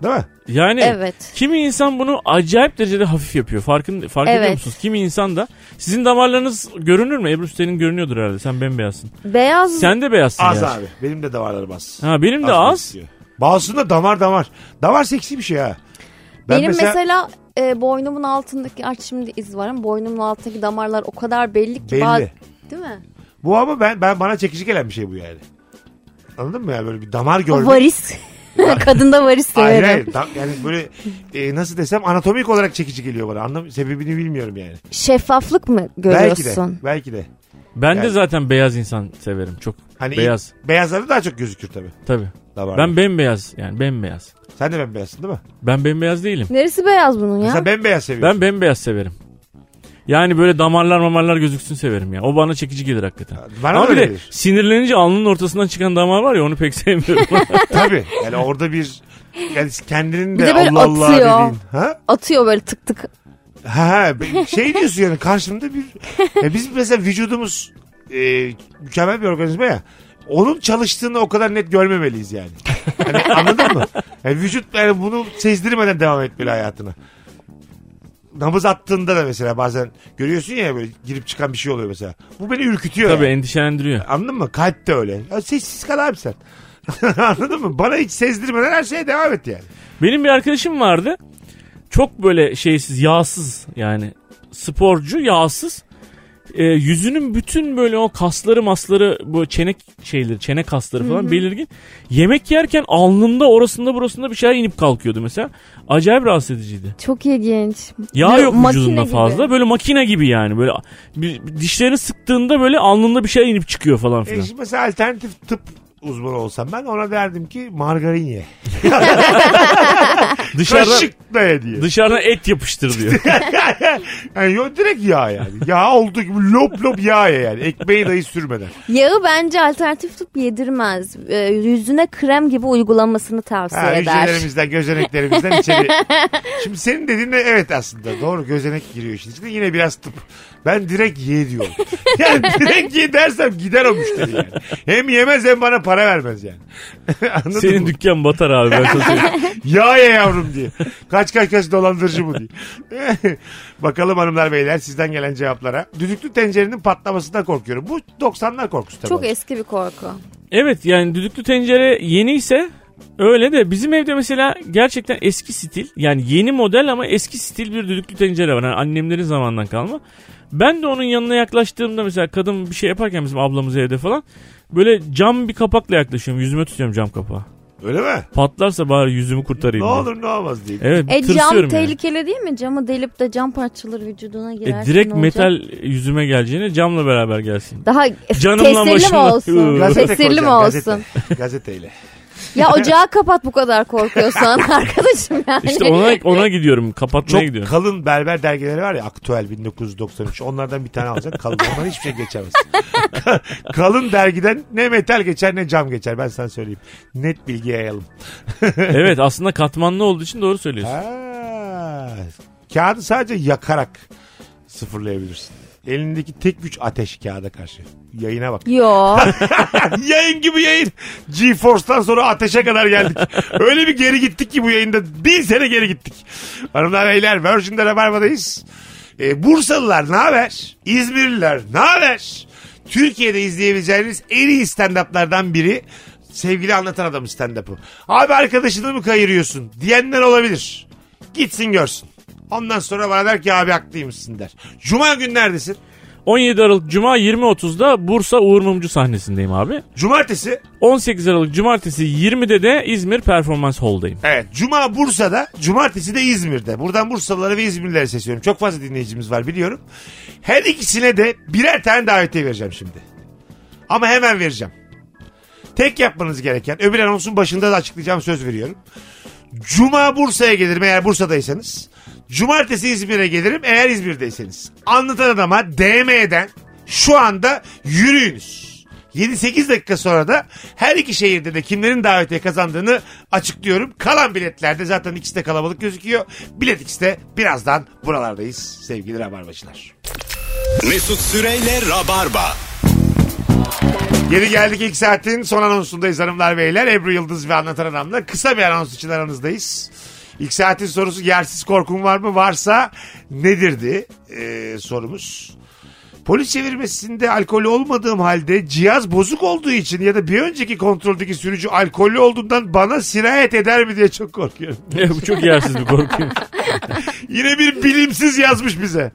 Değil mi? Yani Evet. kimi insan bunu acayip derecede hafif yapıyor. Farkın, fark Evet. ediyor musunuz? Kimi insan da. Sizin damarlarınız görünür mü? Ebru senin görünüyordur herhalde. Sen bembeyazsın. Beyaz Sen de beyazsın Az yani. abi. Benim de damarlarım az. Ha, benim de az. gözüküyor. Bazısında damar damar. Damar seksi bir şey ha. Ben Benim mesela, e, boynumun altındaki artık şimdi iz var ama boynumun altındaki damarlar o kadar belli ki. Belli. baz- Değil mi? bu ama ben, ben bana çekici gelen bir şey bu yani. Anladın mı ya böyle bir damar O görmek. varis. Kadında varis Hayır severim. hayır. Da- yani böyle e, nasıl desem anatomik olarak çekici geliyor bana. Anlam sebebini bilmiyorum yani. Şeffaflık mı Belki de. görüyorsun? Belki de. Ben Yani- de zaten beyaz insan severim. Çok Hani beyaz. Beyazları daha çok gözükür tabii. Tabii. Damarlar. Ben bembeyaz yani bembeyaz. Sen de bembeyazsın değil mi? Ben bembeyaz değilim. Neresi beyaz bunun ya? Sen bembeyaz seviyorsun. Ben bembeyaz severim. Yani böyle damarlar mamarlar gözüksün severim ya. O bana çekici gelir hakikaten. Bana da Ama bir öyle de gelir. sinirlenince alnının ortasından çıkan damar var ya onu pek sevmiyorum. Tabii. Yani orada bir yani kendinin Bir de, de böyle Allah Allah atıyor. dediğin. Ha? Atıyor böyle tık tık. Ha, ha. Ben- Şey diyorsun yani karşımda bir... Ya biz mesela vücudumuz e, mükemmel bir organizma ya. Onun çalıştığını o kadar net görmemeliyiz yani. Hani anladın mı? Yani vücut yani bunu sezdirmeden devam etmeli hayatına. Nabız attığında da mesela bazen görüyorsun ya böyle girip çıkan bir şey oluyor mesela. Bu beni ürkütüyor. Tabii yani. endişelendiriyor. Anladın mı? Kalp de öyle. Ya sessiz kal abi sen. Anladın mı? Bana hiç sezdirmeden her şeye devam et yani. Benim bir arkadaşım vardı. Çok böyle şeysiz, yağsız yani sporcu yağsız. e, yüzünün bütün böyle o kasları masları bu çene şeyleri çene kasları falan belirgin. Yemek yerken alnımda orasında burasında bir şeyler inip kalkıyordu mesela. Acayip rahatsız ediciydi. Çok ilginç. Yağ Böyle yok makine vücudunda gibi. fazla. Böyle makine gibi yani. Böyle bir- bir dişlerini sıktığında böyle alnında bir şeyler inip çıkıyor falan E filan. şimdi mesela alternatif tıp uzmanı olsam ben ona derdim ki margarin ye. Dışarıdan, Kaşıkla ye diye. dışarıdan et yapıştır diyor. Yani yo, direkt yağ yani. Yağ olduğu gibi lop lop yağ ye yani. Ekmeği dahi sürmeden. Yağı bence alternatif tıp yedirmez. Ee, yüzüne krem gibi uygulamasını tavsiye Ha, eder. hücrelerimizden, gözeneklerimizden içeri. Şimdi senin dediğin de evet aslında. Doğru gözenek giriyor işin içine. Yine biraz tıp. Ben direkt ye diyorum. Yani direkt ye dersem gider o müşteri yani. Hem yemez hem bana para vermez yani. Anladın Senin mı? dükkan batar abi ben sana söyleyeyim. Ya ye yavrum diye. Kaç kaç kaç dolandırıcı bu diye. Bakalım hanımlar beyler sizden gelen cevaplara. Düdüklü tencerenin patlamasından korkuyorum. Bu 90'lar korkusu tabii. Çok eski bir korku. Evet yani düdüklü tencere yeni ise öyle de bizim evde mesela gerçekten eski stil yani yeni model ama eski stil bir düdüklü tencere var. Yani annemlerin zamandan kalma. Ben de onun yanına yaklaştığımda mesela kadın bir şey yaparken bizim ablamız evde falan böyle cam bir kapakla yaklaşıyorum. Yüzüme tutuyorum cam kapağı. Öyle mi? Patlarsa bari yüzümü kurtarayım. Ne diye. olur ne olmaz diye. Evet E cam tırsıyorum yani. tehlikeli değil mi? Camı delip de cam parçaları vücuduna E, girerse direkt ne olacak? metal yüzüme geleceğine camla beraber gelsin. Daha Canımla tesirli mi başımla. olsun? Gazete tesirli mi koyacaksın, olsun? Gazete. Gazeteyle. ya ocağı kapat bu kadar korkuyorsan arkadaşım yani. İşte ona ona gidiyorum. Kapatmaya Çok gidiyorum. kalın berber dergileri var ya aktüel 1993 onlardan bir tane alacak kalın ondan hiçbir şey geçemez. kalın dergiden ne metal geçer ne cam geçer ben sana söyleyeyim. Net bilgi yayalım. evet aslında katmanlı olduğu için doğru söylüyorsun. Ha, kağıdı sadece yakarak sıfırlayabilirsin. Elindeki tek güç ateş kağıda karşı. Yayına bak. Yo. yayın gibi yayın. GeForce'dan sonra ateşe kadar geldik. Öyle bir geri gittik ki bu yayında. Bin sene geri gittik. Hanımlar beyler Virgin'de Rabarba'dayız. Ee, Bursalılar ne haber? İzmirliler ne haber? Türkiye'de izleyebileceğiniz en iyi stand-up'lardan biri sevgili anlatan adamı stand-up'ı. Abi arkadaşını mı kayırıyorsun diyenler olabilir. Gitsin görsün. Ondan sonra bana der ki abi haklıymışsın der. Cuma günü neredesin? 17 Aralık Cuma 20.30'da Bursa Uğur Mumcu sahnesindeyim abi. Cumartesi 18 Aralık Cumartesi 20'de de İzmir Performans Hall'dayım. Evet. Cuma Bursa'da, cumartesi de İzmir'de. Buradan Bursalılara ve İzmirlilere sesleniyorum. Çok fazla dinleyicimiz var biliyorum. Her ikisine de birer tane davetiye vereceğim şimdi. Ama hemen vereceğim. Tek yapmanız gereken, öbür anonsun başında da açıklayacağım söz veriyorum. Cuma Bursa'ya gelirim eğer Bursa'daysanız. Cumartesi İzmir'e gelirim eğer İzmir'deyseniz. Anlatan adama DM'den şu anda yürüyünüz. 7-8 dakika sonra da her iki şehirde de kimlerin davetiye kazandığını açıklıyorum. Kalan biletlerde zaten ikisi de kalabalık gözüküyor. Bilet ikisi de birazdan buralardayız sevgili Rabarbacılar. Mesut Süreyle Rabarba. Geri geldik ilk saatin son anonsundayız hanımlar beyler. Ebru Yıldız ve Anlatan Adam'la kısa bir anons için aranızdayız. İlk saatin sorusu yersiz korkum var mı? Varsa nedirdi ee, sorumuz. Polis çevirmesinde alkolü olmadığım halde cihaz bozuk olduğu için ya da bir önceki kontroldeki sürücü alkollü olduğundan bana sirayet eder mi diye çok korkuyorum. Bu çok yersiz bir korkuymuş. Yine bir bilimsiz yazmış bize.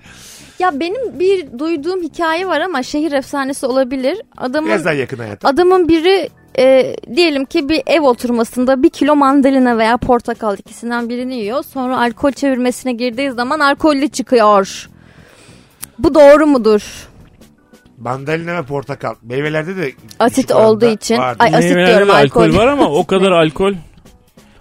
ya benim bir duyduğum hikaye var ama şehir efsanesi olabilir. Biraz Adamın daha yakın hayata. adamın biri e, diyelim ki bir ev oturmasında bir kilo mandalina veya portakal ikisinden birini yiyor. Sonra alkol çevirmesine girdiği zaman alkollü çıkıyor. Bu doğru mudur? Mandalina ve portakal. Meyvelerde de Asit küçük oranda olduğu için. vardı. Ay asit diyorum Meyvelerde alkol, alkol. var ama o kadar alkol.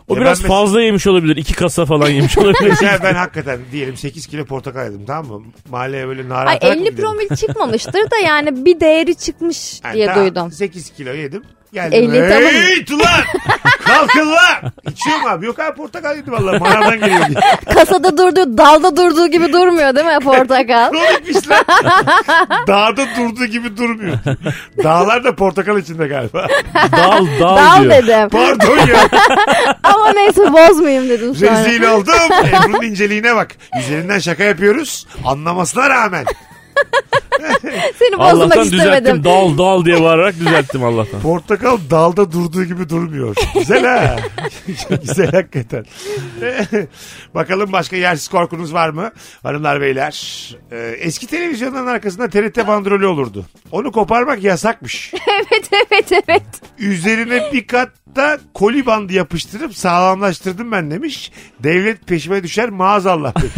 O Ya ben biraz mes- fazla yemiş olabilir. İki kasa falan yemiş olabilir. Mesela ben hakikaten diyelim 8 kilo portakal yedim tamam mı? Mahalleye böyle nara Ay atarak mı 50 gidelim? promil çıkmamıştır da yani bir değeri çıkmış Yani diye tamam, duydum. 8 kilo yedim. Geldim. 50 tamam. Hey ulan! Kalkın lan! İçiyor mu abi? Yok abi portakal yedim valla. Manadan geliyor diye. Kasada durduğu, dalda durduğu gibi durmuyor değil mi portakal? Kronikmiş lan. Dağda durduğu gibi durmuyor. Dağlar da portakal içinde galiba. dal dal, Dal diyor. dedim. Pardon ya. Ama neyse bozmayayım dedim sonra. Rezil oldum. Ebru'nun inceliğine bak. Üzerinden şaka yapıyoruz. Anlamasına rağmen. Seni bozmak Allah'tan istemedim. düzelttim. Dal dal diye bağırarak düzelttim Allah'tan. Portakal dalda durduğu gibi durmuyor. Güzel ha. Güzel hakikaten. Bakalım başka yersiz korkunuz var mı? Hanımlar beyler. Ee, eski televizyonların arkasında TRT bandrolü olurdu. Onu koparmak yasakmış. evet evet evet. Üzerine bir katta koli bandı yapıştırıp sağlamlaştırdım ben demiş. Devlet peşime düşer maazallah demiş.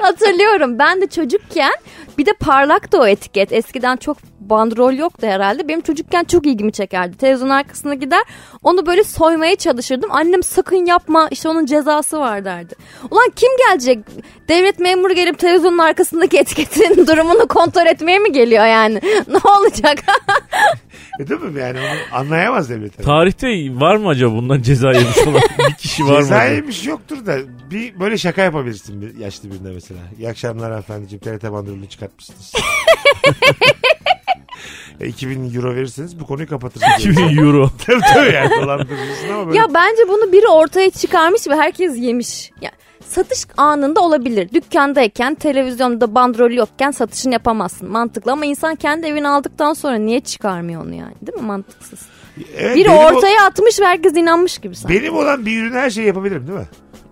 Hatırlıyorum ben de çocukken bir de parlaktı o etiket. Eskiden çok bandrol yoktu herhalde. Benim çocukken çok ilgimi çekerdi. Televizyonun arkasına gider onu böyle soymaya çalışırdım. Annem sakın yapma işte onun cezası var derdi. Ulan kim gelecek? Devlet memuru gelip televizyonun arkasındaki etiketin durumunu kontrol etmeye mi geliyor yani? ne olacak? E, Değil mi? Yani onu anlayamaz devlet. Tarihte var mı acaba bundan ceza yemiş olan bir kişi var mı? Ceza yemiş şey yoktur da bir böyle şaka yapabilirsin bir yaşlı birine mesela. İyi akşamlar hanımefendiciğim TRT bandrolünü çıkartmışsınız. E, 2000 euro verirseniz bu konuyu kapatırsınız. 2000 euro. tabii tabii yani dolandırırsın ama böyle. Ya bence bunu biri ortaya çıkarmış ve herkes yemiş. Ya satış anında olabilir. Dükkandayken, televizyonda bandrol yokken satışını yapamazsın. Mantıklı ama insan kendi evini aldıktan sonra niye çıkarmıyor onu yani? Değil mi? Mantıksız. Evet, Biri E, benim o- ortaya atmış ve herkes inanmış gibi sanki. benim olan bir ürüne her şeyi yapabilirim değil mi?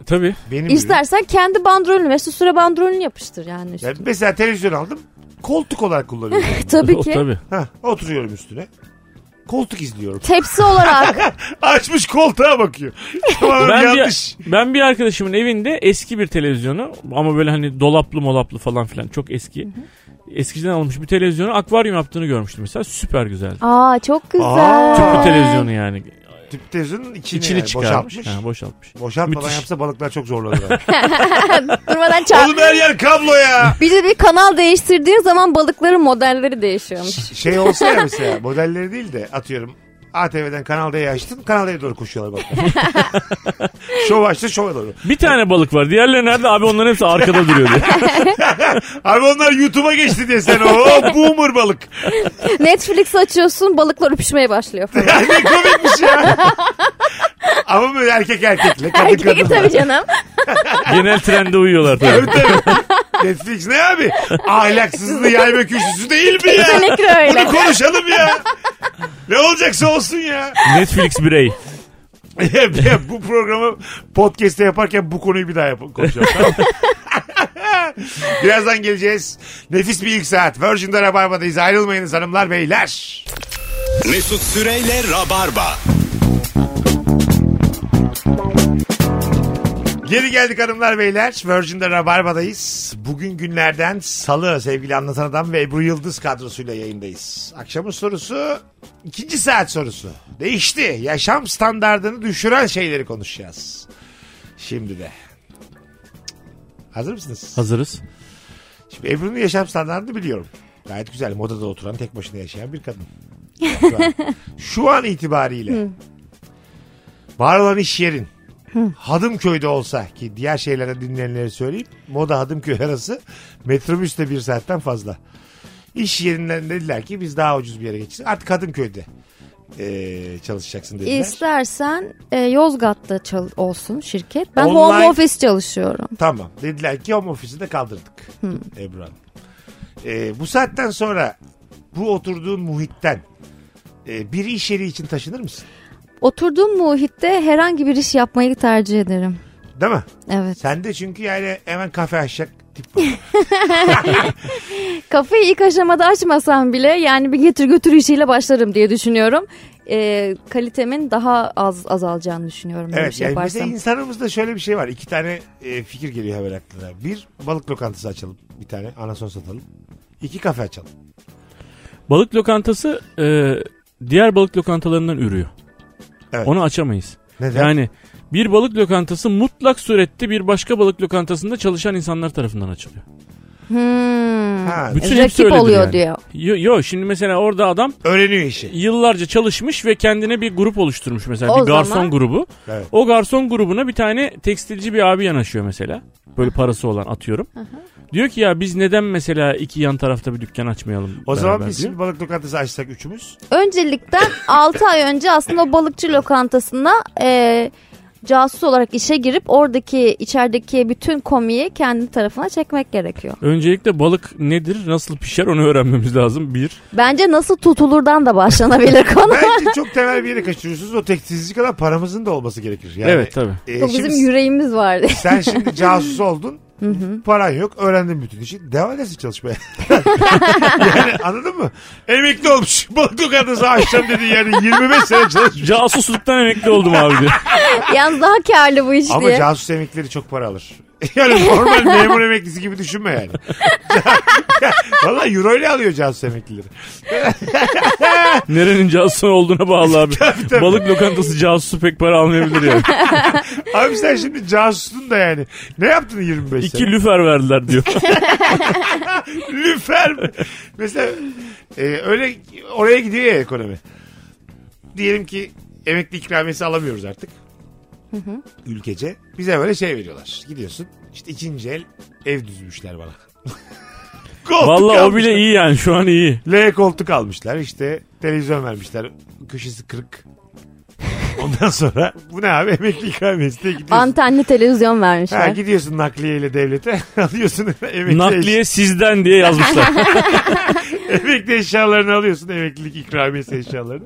Tabii. Benim ürün. İstersen kendi bandrolünü ve süre bandrolünü yapıştır yani. üstüne. Yani mesela televizyon aldım. Koltuk olarak kullanıyorum. Tabii O ki. tabii. Hah, oturuyorum üstüne. Koltuk izliyorum. Tepsi olarak. Açmış koltuğa bakıyor. Tamamen Ben yanlış. bir, ben bir arkadaşımın evinde eski bir televizyonu ama böyle hani dolaplı molaplı falan filan çok eski. Eskiden almış bir televizyonu akvaryum yaptığını görmüştüm mesela süper güzeldi. Aa çok güzel. Aa. Tüplü Bu televizyonu yani Tüp televizyonun içini, içini yani çıkarmış. boşaltmış. Ha, boşaltmış. Boşaltmadan Müthiş. yapsa balıklar çok zorlanır. Durmadan çarp. Oğlum her yer kablo ya. Bir de bir kanal değiştirdiğin zaman balıkların modelleri değişiyormuş. Şey olsa ya mesela modelleri değil de atıyorum ATV'den Kanal D'yi açtın Kanal D'ye doğru koşuyorlar bak. şov açtı şova doğru. Bir tane balık var. Diğerleri nerede? Abi onların hepsi arkada duruyor diye. Abi onlar YouTube'a geçti diye sen o boomer balık. Netflix açıyorsun balıklar öpüşmeye başlıyor falan. ne komikmiş ya. Ama böyle erkek erkekle kadın Erkek kadınla. tabii canım. Genel trende uyuyorlar tabii. Tabii tabii. Netflix ne abi? Ahlaksızlığı yayma kürsüsü değil mi ya? Kesinlikle öyle. Bunu konuşalım ya. Ne olacaksa olsun ya. Netflix birey. Ya bu programı podcast'te yaparken bu konuyu bir daha yap konuşalım. tamam mı? Birazdan geleceğiz. Nefis bir ilk saat. Virgin'de Rabarba'dayız. Ayrılmayınız hanımlar beyler. Mesut Süreyle Rabarba. Geri geldik hanımlar beyler. Virgin'de Rabarba'dayız. Bugün günlerden salı sevgili anlatan adam ve Ebru Yıldız kadrosuyla yayındayız. Akşamın sorusu ikinci saat sorusu. Değişti. Yaşam standartını düşüren şeyleri konuşacağız. Şimdi de. Hazır mısınız? Hazırız. Şimdi Ebru'nun yaşam standartını biliyorum. Gayet güzel. Modada oturan, tek başına yaşayan bir kadın. Şu an, şu an itibariyle. Var olan iş yerin. Hadımköy'de olsa ki diğer şeylere dinleyenlere söyleyeyim. Moda Hadımköy arası metrobüsle bir saatten fazla. İş yerinden dediler ki biz daha ucuz bir yere geçeceğiz. Artık Hadımköy'de eee, çalışacaksın dediler. İstersen e, Yozgat'ta çal- olsun şirket. Ben Online- home office çalışıyorum. Tamam. Dediler ki home ofisi de kaldırdık. Hmm. Ebru Hanım. Ee, bu saatten sonra bu oturduğun muhitten e, bir iş yeri için taşınır mısın? Oturduğum muhitte herhangi bir iş yapmayı tercih ederim. Değil mi? Evet. Sen de çünkü yani hemen kafe açacak tip var. Kafeyi ilk aşamada açmasam bile yani bir getir götür işiyle başlarım diye düşünüyorum. E, kalitemin daha az azalacağını düşünüyorum böyle bir evet. şey yani yaparsam. mesela insanımızda şöyle bir şey var. İki tane e, fikir geliyor hemen aklına. Bir balık lokantası açalım. Bir tane anason satalım. İki kafe açalım. Balık lokantası e, diğer balık lokantalarından ürüyor. Evet. Onu açamayız. Neden? Yani bir balık lokantası mutlak surette bir başka balık lokantasında çalışan insanlar tarafından açılıyor. Hmm. Ha, Bütün hepsi Rakip öyledir oluyor yani. diyor. Yo, yo, şimdi mesela orada adam öğreniyor işi. yıllarca çalışmış ve kendine bir grup oluşturmuş mesela O bir garson zaman- grubu. Evet. O garson grubuna bir tane tekstilci bir abi yanaşıyor mesela. Böyle parası olan atıyorum. Diyor ki ya biz neden mesela iki yan tarafta bir dükkan açmayalım? O zaman beraber biz diyor. şimdi balık lokantası açsak üçümüz. Öncelikten 6 ay önce aslında o balıkçı lokantasına e, casus olarak işe girip oradaki içerideki bütün komiyi kendi tarafına çekmek gerekiyor. Öncelikle balık nedir, nasıl pişer onu öğrenmemiz lazım. Bir. Bence nasıl tutulurdan da başlanabilir konu. Bence çok temel bir yere kaçırıyorsunuz. O tekstilci kadar paramızın da olması gerekir. Yani, Evet tabii. e, Bu şimdi bizim yüreğimiz vardı. sen şimdi casus oldun. Paran yok. Öğrendin bütün işi. Devam edersin çalışmaya. yani anladın mı? Emekli olmuş. Balık lokantası açacağım dedi. Yani 25 sene çalışmış. Casusluktan emekli oldum abi diyor. Yalnız daha karlı bu iş Ama diye. casus emeklileri çok para alır. Yani normal memur emeklisi gibi düşünme yani. Valla euro ile alıyor casus emeklileri. Nerenin casusu olduğuna bağlı abi. Balık lokantası casusu pek para almayabilir yani. Abi sen şimdi casusun da yani. Ne yaptın 25 sene? İki lüfer verdiler diyor. Lüfer mi? Mesela e, öyle oraya gidiyor ya ekonomi. Diyelim ki emekli ikramiyesi alamıyoruz artık. Ülkece. Bize böyle şey veriyorlar. Gidiyorsun işte ikinci el ev düzmüşler bana. Koltuk Valla o almışlar. bile iyi yani şu an iyi. L koltuk almışlar işte televizyon vermişler köşesi kırık. Ondan sonra bu ne abi emekli ikramiyesi diye gidiyorsun. Antenli televizyon Ha, vermişler. gidiyorsun nakliyeyle devlete alıyorsun emekli Nakliye sizden diye yazmışlar. Emekli eşyalarını alıyorsun. Emeklilik ikramiyesi eşyalarını.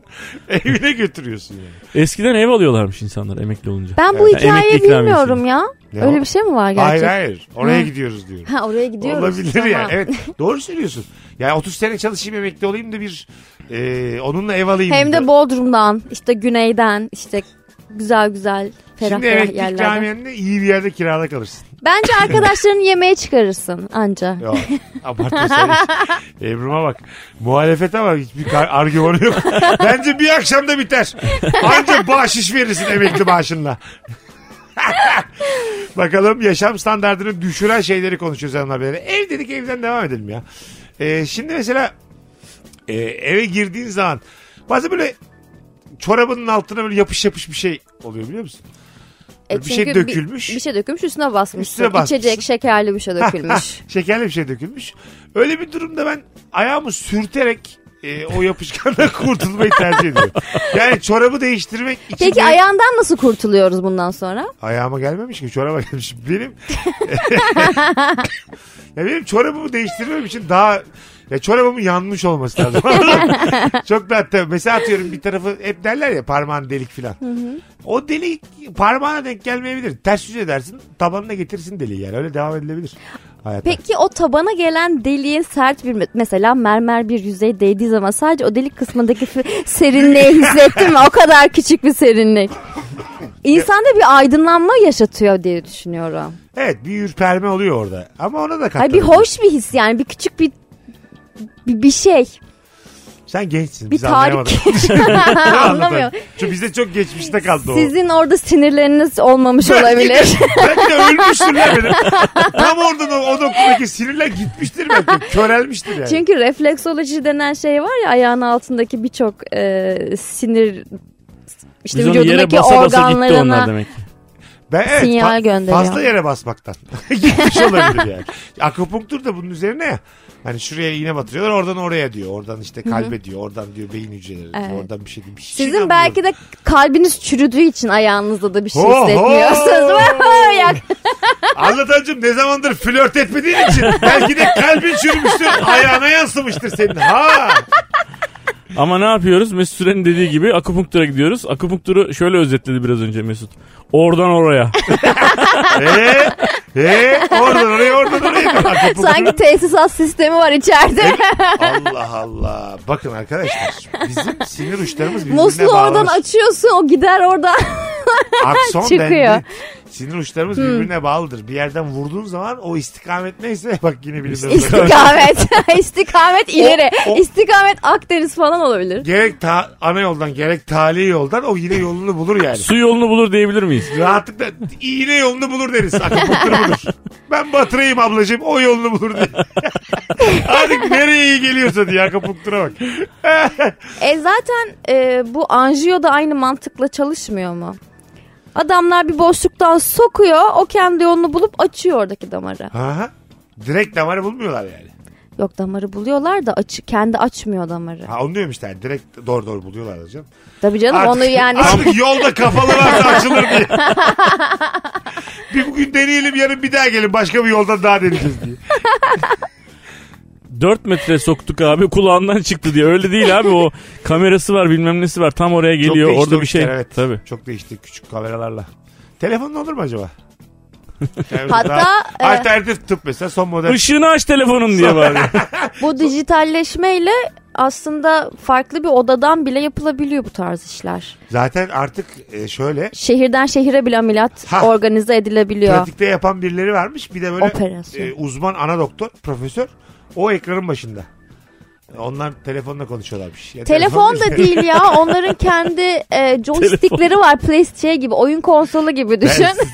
Evine götürüyorsun yani. Eskiden ev alıyorlarmış insanlar emekli olunca. Ben bu Yani hikayeyi emekli ikramiyesi. bilmiyorum ya. Ne Öyle o? bir şey mi var Hayır gerçekten? hayır. Oraya Ha. gidiyoruz diyorum. Ha oraya gidiyoruz. Olabilir Tamam. yani. Evet. Doğru söylüyorsun. Yani 30 sene çalışayım emekli olayım da bir e, onunla ev alayım. Hem da. de Bodrum'dan, işte güneyden, işte güzel güzel ferah Şimdi ferah emekli yerlerden. ikramiyenle iyi bir yerde kirada kalırsın. Bence arkadaşlarını yemeğe çıkarırsın anca. Yok. Abartma sen hiç. Ebru'ma bak. Muhalefete bak. Hiçbir kar- argümanı yok. Bence bir akşamda biter. Ancak bahşiş verirsin emekli maaşınla. Bakalım yaşam standartını düşüren şeyleri konuşuyoruz hanımlar beyler. Ev dedik evden devam edelim ya. Ee, şimdi mesela e, eve girdiğin zaman bazen böyle çorabının altına böyle yapış yapış bir şey oluyor biliyor musun? E Bir şey çünkü dökülmüş. Bir, şey dökülmüş üstüne basmışsın. Üstüne basmışsın. İçecek şekerli bir şey dökülmüş. Şekerli bir şey dökülmüş. Öyle bir durumda ben ayağımı sürterek e, o yapışkandan kurtulmayı tercih ediyorum. Yani çorabı değiştirmek için Peki de- ayağından nasıl kurtuluyoruz bundan sonra? ayağıma gelmemiş ki çoraba gelmiş. Benim ya benim çorabımı değiştirmem için daha ya çorabımın yanmış olması lazım. Çok da hatta mesela atıyorum bir tarafı hep derler ya parmağın delik filan. O delik parmağına denk gelmeyebilir. Ters yüz edersin tabanına getirsin deliği yani öyle devam edilebilir. Hayata. Peki o tabana gelen deliğin sert bir mesela mermer bir yüzey değdiği zaman sadece o delik kısmındaki f- serinliği hissettin mi? O kadar küçük bir serinlik. İnsanda bir aydınlanma yaşatıyor diye düşünüyorum. Evet bir ürperme oluyor orada. Ama ona da Ay katlanır. bir hoş bir his yani bir küçük bir bir, bir şey. Sen gençsin. Bir biz anlayamadık. tarih. Ne anlatan? Anlamıyor. Çünkü bizde çok geçmişte kaldı o. Sizin orada sinirleriniz olmamış olabilir. Belki de ölmüştürler beni. Tam orada da o noktadaki sinirler gitmiştir belki. Körelmiştir yani. Çünkü refleksoloji denen şey var ya ayağın altındaki birçok e, sinir işte Biz onu yere vücudundaki basa basa gitti onlar organlarına demek. ki. ben, evet, sinyal fa- gönderiyor. Fazla yere basmaktan. Gitmiş olabilir yani. Akupunktur da bunun üzerine ya. Hani şuraya iğne batırıyorlar oradan oraya diyor. Oradan işte kalbe diyor. Oradan diyor beyin hücreleri diyor. Evet. Oradan bir şey diyor. Bir şey sizin belki de kalbiniz çürüdüğü için ayağınızda da bir şey Oho! hissetmiyorsunuz. Ya, Anlatancım ne zamandır flört etmediğin için belki de kalbin çürümüştür, ayağına yansımıştır senin. Ha! Ama ne yapıyoruz? Mesut Süren'in dediği gibi akupunktura gidiyoruz. Akupunkturu şöyle özetledi biraz önce Mesut. Oradan oraya. Ee, ee, oradan oraya, oradan oraya. Akupunktur. sanki tesisat sistemi var içeride. Allah Allah. Bakın arkadaşlar bizim sinir uçlarımız birbirine Musluğu oradan bağlanmış. açıyorsun o gider oradan. Akson çıkıyor. dendi. Sinir uçlarımız birbirine bağlıdır. Bir yerden vurduğun zaman o istikamet neyse bak yine bilimde. İstikamet. İstikamet ileri. O- o- İstikamet Akdeniz falan olabilir. gerek ta- ana yoldan gerek tali yoldan o yine yolunu bulur yani. Su yolunu bulur diyebilir miyiz? Rahatlıkla iğne yolunu bulur deriz. Akupunktur budur. Ben batırayım ablacığım o yolunu bulur diye. Artık nereye iyi geliyorsa diye akupunktura bak. E zaten e, bu anjiyo da aynı mantıkla çalışmıyor mu? Adamlar bir boşluktan sokuyor. O kendi yolunu bulup açıyor oradaki damarı. Aha. Direkt damarı bulmuyorlar yani. Yok damarı buluyorlar da açı, kendi açmıyor damarı. Ha onu diyorum işte yani direkt doğru doğru buluyorlar hocam. Tabii canım Artık- onu yani. Artık yolda kafalı varsa açılır diye. bir bugün deneyelim yarın bir daha gelin başka bir yoldan daha deneyeceğiz diye. 4 metre soktuk abi kulağından çıktı diye. Öyle değil abi o kamerası var bilmem nesi var tam oraya geliyor değişti o orada bir şey. işler, evet. Tabii. Çok değişti küçük kameralarla. Telefonla olur mu acaba? Yani Hatta, daha- e, alternatif tıp mesela son model. Işığını aç telefonun diye bari. Bu dijitalleşmeyle aslında farklı bir odadan bile yapılabiliyor bu tarz işler. Zaten artık e, şöyle Şehirden şehire bile ameliyat Ha. organize edilebiliyor. pratikte yapan birileri varmış. Bir de böyle Operasyon. e, uzman ana doktor, profesör o ekranın başında. Onlar telefonla konuşuyorlarmış. Ya Telefon da değil ya. Onların kendi e, joystickleri var. PlayStation gibi, oyun konsolu gibi düşün. Telsiz-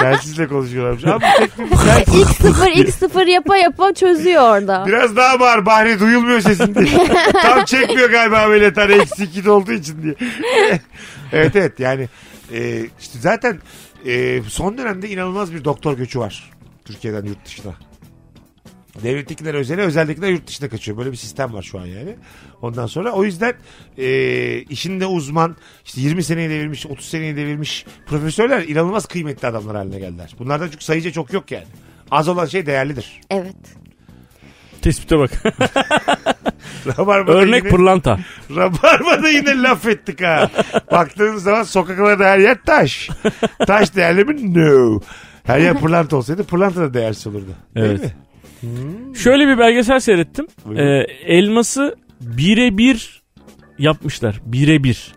Telsizle konuşuyorlarmış. Ama bu tek bir- şey X0 X0 yapa yapa çözüyor orada. Biraz daha bağır Bahri duyulmuyor sesin diye. Tam çekmiyor galiba ameliyathane eksi iki de olduğu için diye. evet evet yani e, işte zaten e, son dönemde inanılmaz bir doktor göçü var. Türkiye'den yurt dışına. Devlettekiler özele, özellikler yurt dışına kaçıyor. Böyle bir sistem var şu an yani. Ondan sonra o yüzden e, işinde uzman, işte 20 seneye devirmiş, 30 seneye devirmiş profesörler inanılmaz kıymetli adamlar haline geldiler. Bunlardan çünkü sayıca çok yok yani. Az olan şey değerlidir. Evet. Tespite bak. Rabarba'da Örnek yine- pırlanta. Rabarba'da yine laf ettik ha. Baktığın zaman sokaklarda her yer taş. Taş değerli mi? No. Her yer pırlanta olsaydı pırlanta da değersiz olurdu. Evet. Değil mi? Şöyle bir belgesel seyrettim. Buyurun. Ee, elması birebir yapmışlar. Birebir.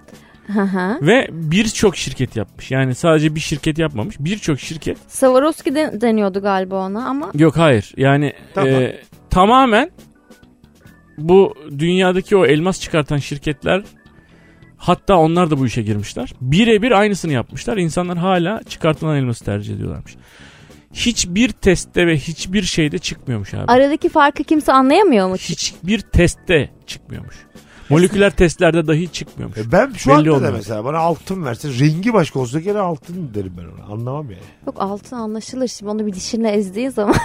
Hı hı. Ve birçok şirket yapmış. Yani sadece bir şirket yapmamış. Birçok şirket. Swarovski de- deniyordu galiba ona ama Yok hayır. Yani Tamam. e, tamamen bu dünyadaki o elmas çıkartan şirketler hatta onlar da bu işe girmişler. Birebir aynısını yapmışlar. İnsanlar hala çıkartılan elması tercih ediyorlarmış. Hiçbir testte ve hiçbir şeyde çıkmıyormuş abi. aradaki farkı kimse anlayamıyor mu? Hiçbir testte çıkmıyormuş. Moleküler testlerde dahi çıkmıyormuş. E Ben şu Belli anda olmuyor. da mesela bana altın verse rengi başka olsa gene altın derim ben ona. Anlamam yani. Yok altın anlaşılır şimdi onu bir dişinle ezdiği zaman.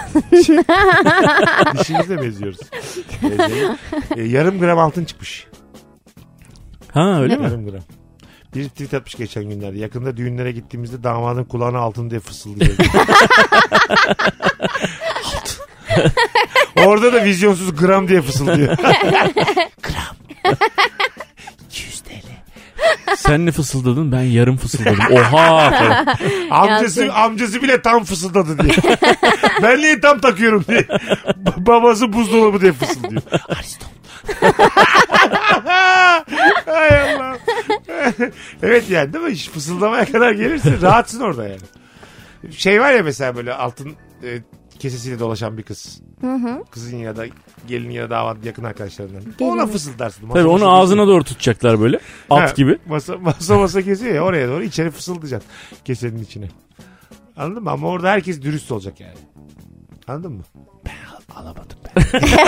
Dişimizle benziyoruz. Benziyoruz. E, yarım gram altın çıkmış. Ha öyle mi? yarım gram. Bir tweet atmış geçen günlerde. Yakında düğünlere gittiğimizde damadın kulağına altın diye fısıldıyor. Altın. Orada da vizyonsuz gram diye fısıldıyor. Sen ne fısıldadın ben yarım fısıldadım. Oha falan. amcası, Yansın. amcası bile tam fısıldadı diye. ben niye tam takıyorum diye. Ba- Babası buzdolabı diye fısıldıyor. Ariston. Hay Allah. evet yani değil mi? İş Fısıldamaya kadar gelirsin. Rahatsın orada yani. Şey var ya mesela böyle altın e, kesesiyle dolaşan bir kız. Hı hı. Kızın ya da gelin ya da damat yakın arkadaşlarından. Gelin. Ona fısıldarsın. Masa Tabii onu fısıldarsın. ağzına doğru tutacaklar böyle. Ha, At gibi. Masa, masa masa geziyor ya oraya doğru içeri fısıldayacaksın kesenin içine. Anladın mı? Ama orada herkes dürüst olacak yani. Anladın mı? Ben al- alamadım ben.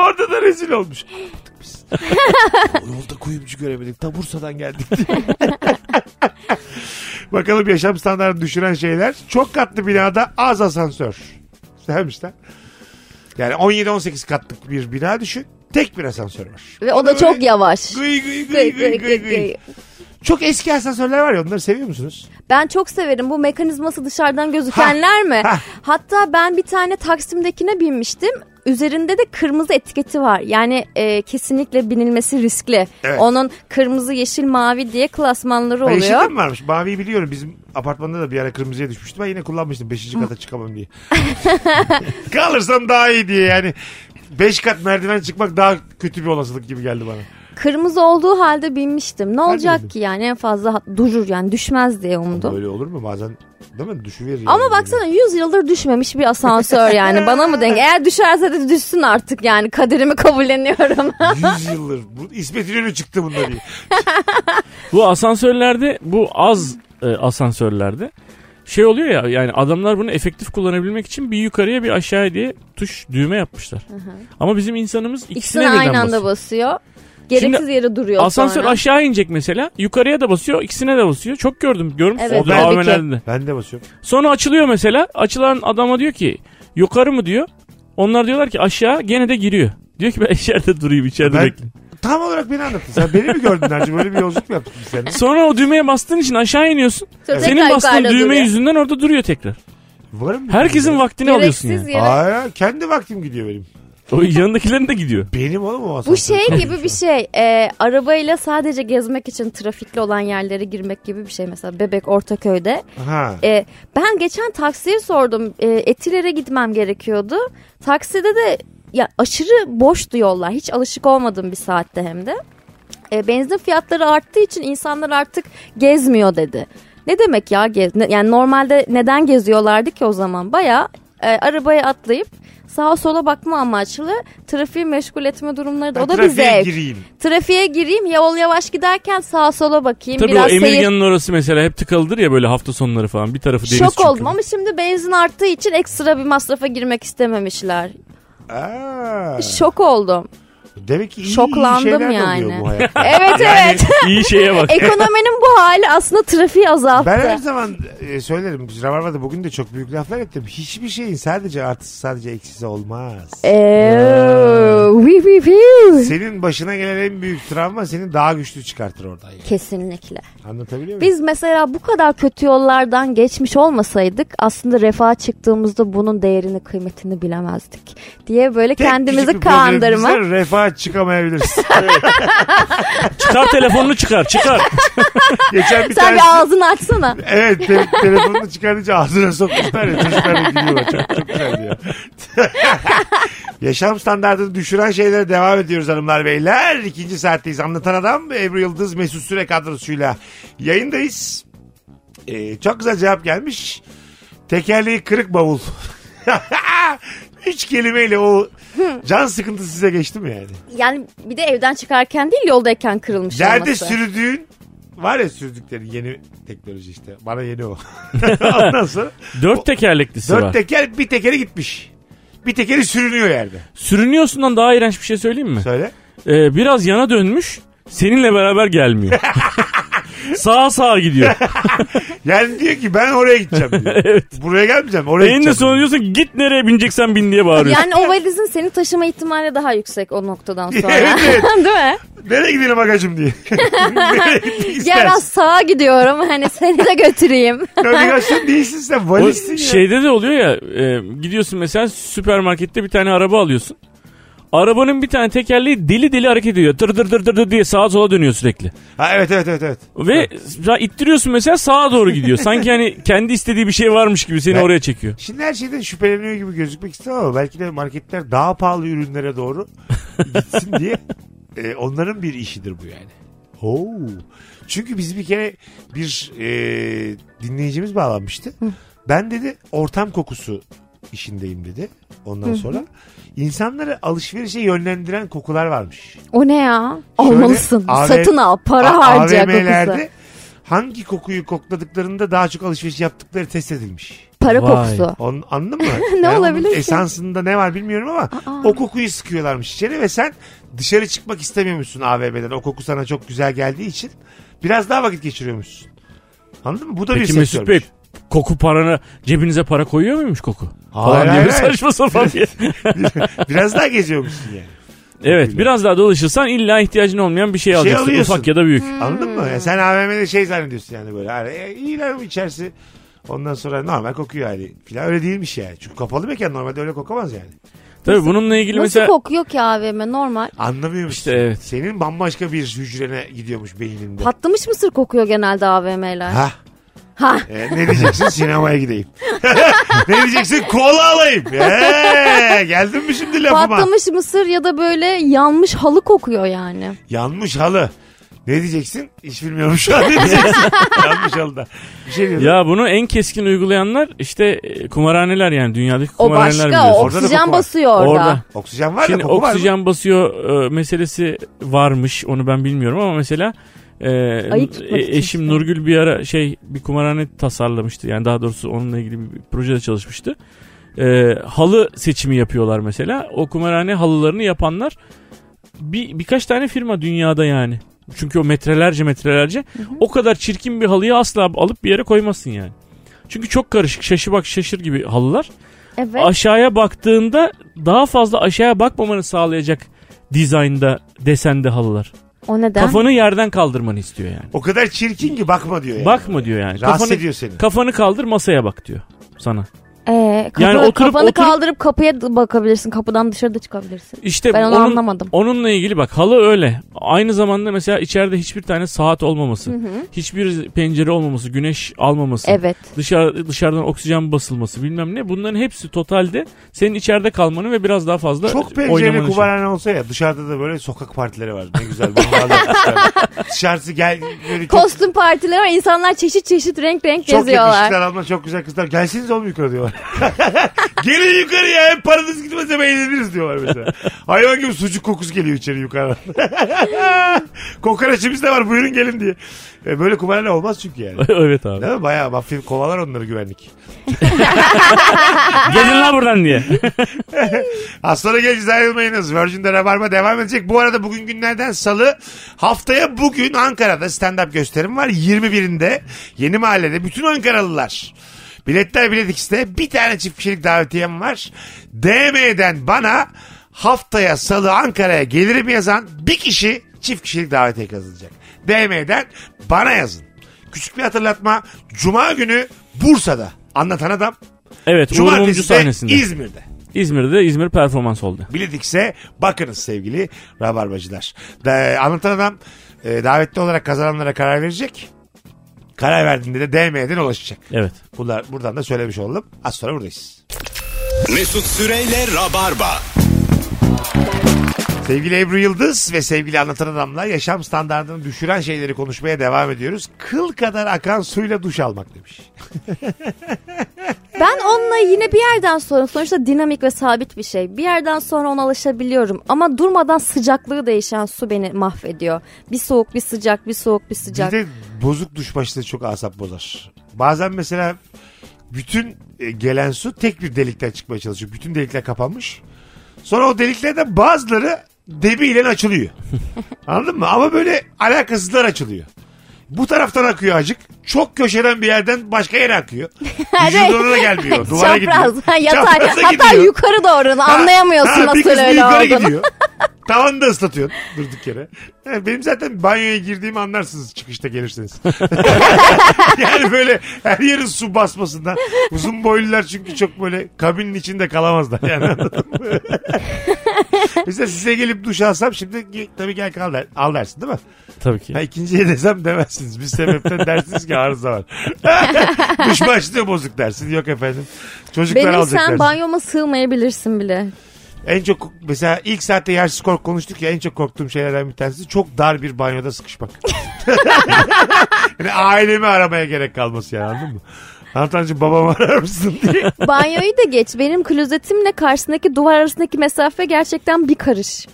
orada da rezil olmuş. Alamadık biz. o yolda kuyumcu göremedik. Ta Bursa'dan geldik diye. Bakalım yaşam standartını düşüren şeyler. Çok katlı binada az asansör. Sevmiş lan. Yani 17-18 katlık bir bina düşün. Tek bir asansör var. Ve o da çok yavaş. Gıy gıy gıy gıy gıy gıy. Çok eski asansörler var ya onları seviyor musunuz? Ben çok severim bu mekanizması dışarıdan gözükenler mi? ha. Hatta ben bir tane Taksim'dekine binmiştim. Üzerinde de kırmızı etiketi var. Yani e, kesinlikle binilmesi riskli. Evet. Onun kırmızı, yeşil, mavi diye klasmanları Ha, Yeşilde oluyor. mi varmış? Maviyi biliyorum. Bizim apartmanda da bir ara kırmızıya düşmüştü. Ben yine kullanmıştım. Beşinci kata çıkamam diye. Kalırsam daha iyi diye yani. Beş kat merdiven çıkmak daha kötü bir olasılık gibi geldi bana. Kırmızı olduğu halde binmiştim. Ne bildim. olacak ki yani en fazla ha- durur yani düşmez diye umdum. Böyle olur mu? Bazen değil mi? Düşüverir. yani. Ama baksana 100 yıldır düşmemiş bir asansör yani bana mı denk? Eğer düşerse de düşsün artık yani kaderimi kabulleniyorum. Yüz yıldır. Bu, İsmet İnönü çıktı bunda diye. Bu asansörlerde bu az e, asansörlerde şey oluyor ya yani adamlar bunu efektif kullanabilmek için bir yukarıya bir aşağıya diye tuş düğme yapmışlar. Ama bizim insanımız ikisine İkisini birden aynı basıyor. anda basıyor. Gereksiz Şimdi yere duruyor Asansör sonra. aşağı inecek mesela. Yukarıya da basıyor, ikisine de basıyor. Çok gördüm. Görmüş Evet, musunuz? tabii AVM'lerde. Ben de basıyorum. Sonra açılıyor mesela. Açılan adama diyor ki yukarı mı diyor. Onlar diyorlar ki aşağı gene de giriyor. Diyor ki ben içeride durayım içeride Ben- bekleyin. Tam olarak beni anlattın. Sen beni mi gördün Ercim? Böyle bir yolculuk mu yaptık biz seninle? Sonra o düğmeye bastığın için aşağı iniyorsun. Sonra Senin tekrar bastığın yukarıda düğme duruyor. yüzünden orada duruyor tekrar. Varım. Herkesin vaktini alıyorsun Gereksiz yani. yere. Aa, kendi vaktim gidiyor benim. O yanındakilerin de gidiyor. Benim oğlum o asansör. Bu şey gibi bir şey. E, arabayla sadece gezmek için trafikli olan yerlere girmek gibi bir şey. Mesela Bebek Ortaköy'de. Ha. E, ben geçen taksiye sordum. E, Etiler'e gitmem gerekiyordu. Takside de ya aşırı boştu yollar. Hiç alışık olmadığım bir saatte hem de. E, benzin fiyatları arttığı için insanlar artık gezmiyor dedi. Ne demek ya? Gez, ne- yani normalde neden geziyorlardı ki o zaman? Baya e, arabaya atlayıp sağa sola bakma amaçlı trafiği meşgul etme durumları da. Ben O da bir trafiğe zevk. gireyim. Trafiğe gireyim yol yavaş giderken sağa sola bakayım. Tabii biraz o seyir Emirgan'ın orası mesela hep tıkalıdır ya böyle hafta sonları falan. Bir tarafı deniz Şok çünkü. oldum ama şimdi benzin arttığı için ekstra bir masrafa girmek istememişler. Aa. Şok oldum. Demek ki iyi, Şoklandım iyi şeyler de yani. oluyor bu hayatta. Evet evet. İyi şeye bak. Ekonominin bu hali aslında trafiği azalttı. Ben her zaman e, söylerim. Biz Rabarba'da bugün de çok büyük laflar ettim. Hiçbir şeyin sadece artısı sadece eksisi olmaz. Ee, Eee, wi- wi- wi. Senin başına gelen en büyük travma seni daha güçlü çıkartır oradan. Yani. Kesinlikle. Anlatabiliyor muyum? Biz mesela bu kadar kötü yollardan geçmiş olmasaydık aslında refaha çıktığımızda bunun değerini kıymetini bilemezdik diye böyle Tek kendimizi küçük bir şey problemimiz kandırma. var, Refaha çıkamayabiliriz. çıkar telefonunu çıkar çıkar. Geçen bir Sen tane... bir ağzını açsana. Evet te- telefonunu çıkarınca ağzına sokmuşlar ya çocuklar da gülüyorlar. Çok, çok güzel ya. Yaşam standartını düşüren şeylere devam ediyoruz hanımlar beyler. İkinci saatteyiz. Anlatan Adam Ebru Yıldız Mesut Süre kadrosuyla yayındayız. Ee, çok güzel cevap gelmiş. Tekerleği kırık bavul. Üç kelimeyle o can sıkıntısı size geçti mi yani? Yani bir de evden çıkarken değil yoldayken kırılmış Yerde olması. sürdüğün var ya sürdükleri yeni teknoloji işte. Bana yeni o. Ondan sonra Dört tekerleklisi Dört var. teker bir tekeri gitmiş. Bir tekeri sürünüyor yerde. Sürünüyorsundan daha iğrenç bir şey söyleyeyim mi? Söyle. Ee, biraz yana dönmüş. Seninle beraber gelmiyor. sağa sağa gidiyor. Yani diyor ki ben oraya gideceğim diyor. Buraya gelmeyeceğim oraya en de gideceğim. sonra diyorsun ki, git nereye bineceksen bin diye bağırıyorsun. Yani o valizin seni taşıma ihtimali daha yüksek o noktadan sonra. Evet, evet. Değil mi? Nereye gidelim bagajım diye. Nereye gitmek Ya ben istersin? sağa gidiyorum hani seni de götüreyim. Navigasyon değilsin sen O şey- valizsin ya. şeyde de oluyor ya e, gidiyorsun mesela süpermarkette bir tane araba alıyorsun. Arabanın bir tane tekerleği deli deli hareket ediyor. Tır tır tır tır tır diye sağa sola dönüyor sürekli. Ha, evet evet evet. evet. Ve ra- ittiriyorsun mesela sağa doğru gidiyor. Sanki hani kendi istediği bir şey varmış gibi seni Ben- oraya çekiyor. Şimdi her şeyden şüpheleniyor gibi gözükmek istemem ama belki de marketler daha pahalı ürünlere doğru gitsin diye e, onların bir işidir bu yani. Oo. Çünkü biz bir kere bir e, dinleyicimiz bağlanmıştı. Ben dedi ortam kokusu işindeyim dedi. Ondan sonra insanları alışverişe yönlendiren kokular varmış. O ne ya? Şöyle Almalısın. AV Satın al. Para A- harca AVM'lerde kokusu. hangi kokuyu kokladıklarında daha çok alışveriş yaptıkları test edilmiş. Para Vay. kokusu. On, anladın mı? Ne onun olabilir ki? Esansında ne var bilmiyorum ama o kokuyu sıkıyorlarmış içeri ve sen dışarı çıkmak istemiyormuşsun AVM'den. O koku sana çok güzel geldiği için biraz daha vakit geçiriyormuşsun. Anladın mı? Bu da bir Peki sektörmüş. Mesut Bey koku paranı cebinize para koyuyor muymuş koku? Hayır, Falan diye hayır, bir hayır. saçma sapan bir- biraz daha geziyormuşsun yani. evet biraz daha dolaşırsan illa ihtiyacın olmayan bir şey, alacaksın. alıyorsun. Ufak ya da büyük. Hmm. Anladın mı? Yani sen AVM'de şey zannediyorsun yani böyle. Hani, e, iyiler bu içerisi. Ondan sonra normal kokuyor yani. Falan öyle değilmiş yani. Çünkü kapalı mekan normalde öyle kokamaz yani. Tabii bununla ilgili Nasıl mesela kokuyor ki AVM normal? Anlamıyormuş. İşte evet. Senin bambaşka bir hücrene gidiyormuş beyninde. Patlamış mısır kokuyor genelde AVM'ler. Ha. Ha. E, ne diyeceksin sinemaya gideyim. ne diyeceksin kola alayım. Ee, geldin mi şimdi lafıma? Patlamış mısır ya da böyle yanmış halı kokuyor yani. Yanmış halı. Ne diyeceksin? Hiç bilmiyorum şu an ne diyeceksin. Yanmış halı da. Bir şey diyordun. Ya bunu en keskin uygulayanlar işte e, kumarhaneler yani dünyadaki O kumarhaneler başka. biliyorsun. O Orada da oksijen koku var. basıyor orada. Orada. Oksijen var Şimdi da koku var mı? oksijen basıyor e, meselesi varmış onu ben bilmiyorum ama mesela e, Ayı tutmak e, için eşim işte. Nurgül bir ara şey bir kumarhane tasarlamıştı yani daha doğrusu onunla ilgili bir projede çalışmıştı. E, halı seçimi yapıyorlar mesela o kumarhane halılarını yapanlar bir birkaç tane firma dünyada yani. Çünkü o metrelerce metrelerce o kadar çirkin bir halıyı asla alıp bir yere koymazsın yani. Çünkü çok karışık. Şaşı bak şaşır gibi halılar. Evet. Aşağıya baktığında daha fazla aşağıya bakmamanı sağlayacak dizaynda, desende halılar. o neden? Kafanı yerden kaldırmanı istiyor yani. O kadar çirkin ki bakma diyor yani. Bakma diyor yani. Rahatsız kafanı, ediyor seni. Kafanı kaldır masaya bak diyor sana. Ee, kafa- Yani oturup- kafanı oturup- kaldırıp kapıya d- bakabilirsin. Kapıdan dışarıda çıkabilirsin. İşte Ben onu onun, anlamadım. Onunla ilgili bak halı öyle. Aynı zamanda mesela içeride hiçbir tane saat olmaması, hiçbir pencere olmaması, güneş almaması, Evet. dışarı dışarıdan oksijen basılması bilmem ne bunların hepsi totalde senin içeride kalmanı ve biraz daha fazla Çok oynamanı pencereli için. kumarhane olsa ya dışarıda da böyle sokak partileri var. Ne güzel bunlarla yapmışlar. Dışarısı gel böyle çok, Kostüm partileri var. İnsanlar çeşit çeşit renk renk çok yakışıklar geziyorlar. ama çok güzel kızlar. Gelsiniz oğlum yukarı diyorlar. Gelin yukarı ya hem paranız gitmez hem eğleniriz diyorlar mesela. Hayvan gibi sucuk kokusu geliyor içeri yukarıdan. Kokoreçimiz de var buyurun gelin diye. E, böyle kumarhane olmaz çünkü yani. evet abi. Değil mi? Bayağı mafya kovalar onları güvenlik. Gelin lan buradan diye. Az sonra geleceğiz ayrılmayınız. Virgin'de Rabarba devam edecek. Bu arada bugün günlerden salı. Haftaya bugün Ankara'da stand-up gösterim var. 21'inde yeni mahallede bütün Ankaralılar. Biletler Bilet X'de bir tane çift kişilik davetiyem var. DM'den bana haftaya salı Ankara'ya gelirim yazan bir kişi çift kişilik davetiye kazanacak. DM'den bana yazın. Küçük bir hatırlatma. Cuma günü Bursa'da anlatan adam. Evet, Uğur Mumcu Cumartesi de sahnesinde. İzmir'de. İzmir'de İzmir performans oldu. Biledikse bakınız sevgili rabarbacılar. Da, anlatan adam e, davetli olarak kazananlara karar verecek. Karar verdiğinde de DM'den ulaşacak. Evet. Bunlar buradan da söylemiş olalım. Az sonra buradayız. Mesut Süreyle Rabarba. Sevgili Ebru Yıldız ve sevgili anlatan adamla yaşam standartını düşüren şeyleri konuşmaya devam ediyoruz. Kıl kadar akan suyla duş almak demiş. Ben onunla yine bir yerden sonra sonuçta dinamik ve sabit bir şey. Bir yerden sonra ona alışabiliyorum ama durmadan sıcaklığı değişen su beni mahvediyor. Bir soğuk, bir sıcak, bir soğuk, bir sıcak. Bir de bozuk duş başlığı çok asap bozar. Bazen mesela bütün e, gelen su tek bir delikten çıkmaya çalışıyor. Bütün delikler kapanmış. Sonra o deliklerden bazıları debiyle açılıyor. Anladın mı? Ama böyle alakasızlar açılıyor. Bu taraftan akıyor acık. Çok köşeden bir yerden başka yere akıyor. Vücuduna da gelmiyor. Duvara Çapraz, gidiyor. yatay. Çapraza Hatta gidiyor. yukarı doğru Ha, anlayamıyorsun ha, bir nasıl kısmı öyle yukarı olduğunu. gidiyor. Tavanı da ıslatıyorsun durduk yere. Yani benim zaten banyoya girdiğimi anlarsınız çıkışta gelirseniz. yani böyle her yerin su basmasından. Uzun boylular çünkü çok böyle kabinin içinde kalamazlar yani anladın mı? Mesela size gelip duş alsam şimdi ge- tabii gel kal der, al dersin değil mi? Tabii ki. Ha, ikinciye desem demezsiniz. Bir sebepten dersiniz ki arıza var. duş başlığı bozuk dersin. Yok efendim. Çocuklar Benim alacak sen dersin. banyoma sığmayabilirsin bile. En çok mesela ilk saatte yersiz kork konuştuk ya en çok korktuğum şeylerden bir tanesi çok dar bir banyoda sıkışmak. yani ailemi aramaya gerek kalması yani anladın mı? Anlatancı babamı arar mısın diye. Banyoyu da geç. Benim klozetimle karşısındaki duvar arasındaki mesafe gerçekten bir karış.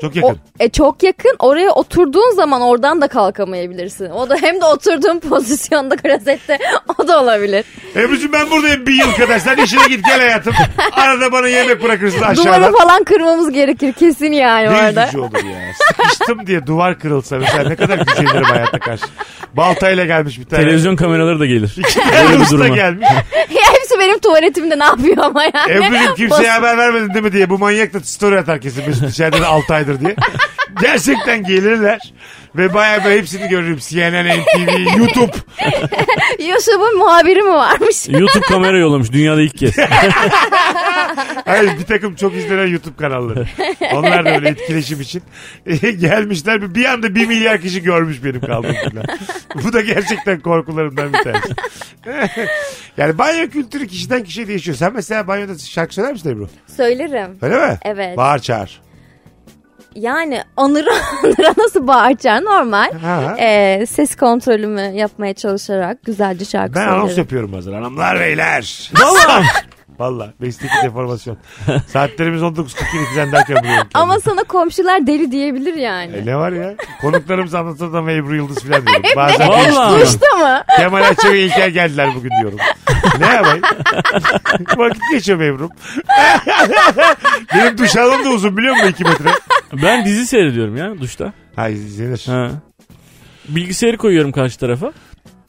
Çok O, yakın. e, çok yakın. Oraya oturduğun zaman oradan da kalkamayabilirsin. O da hem de oturduğun pozisyonda klozette o da olabilir. Ebru'cum ben buradayım bir yıl kadar. Sen işine git gel hayatım. Arada bana yemek bırakırsın aşağıdan. Duvarı falan kırmamız gerekir kesin yani Ne orada. üzücü olur ya. Sıkıştım diye duvar kırılsa mesela ne kadar gücenirim hayatta karşı. Baltayla gelmiş bir tane. Televizyon kameraları da gelir. İki tane Böyle bir usta duruma. gelmiş. Hepsi benim tuvaletimde ne yapıyor ama yani. Ebru'cum Bas- kimseye haber vermedin değil mi diye. Bu manyak da story atar kesin Mesut içeride de 6 aydır diye. Gerçekten gelirler. Ve bayağı böyle hepsini görürüm. CNN, NTV, YouTube. YouTube'un muhabiri mi varmış? YouTube kamera yollamış dünyada ilk kez. Hayır bir takım çok izlenen YouTube kanalları. Onlar da öyle etkileşim için. E, Gelmişler bir- bir anda 1 milyar kişi görmüş benim kaldığım filan. Bu da gerçekten korkularımdan bir tanesi. yani banyo kültürü kişiden kişiye değişiyor. Sen mesela banyoda şarkı söyler misin Ebru? Söylerim. Öyle mi? Evet. Bağır çağır. Yani anıra, anıra nasıl bağıracağı normal. Ha. Ee, ses kontrolümü yapmaya çalışarak güzelce şarkı Ben söylerim. anons yapıyorum hazır. Hanımlar beyler. Valla. Valla mesleki deformasyon. Saatlerimiz 19.42 falan derken buluyorum. Ama sana komşular deli diyebilir E yani. ne var ya? Konuklarımız anlatır da Ebru Yıldız falan diyorum. Bazen Valla. Duşta mı? Kemal Ayça ve İlker geldiler bugün diyorum. ne yapayım? Vakit geçiyor Ebru'm. Benim duş alım da uzun biliyor musun 2 metre? Ben dizi seyrediyorum ya duşta. Ha izlenir. Ha. Bilgisayarı koyuyorum karşı tarafa.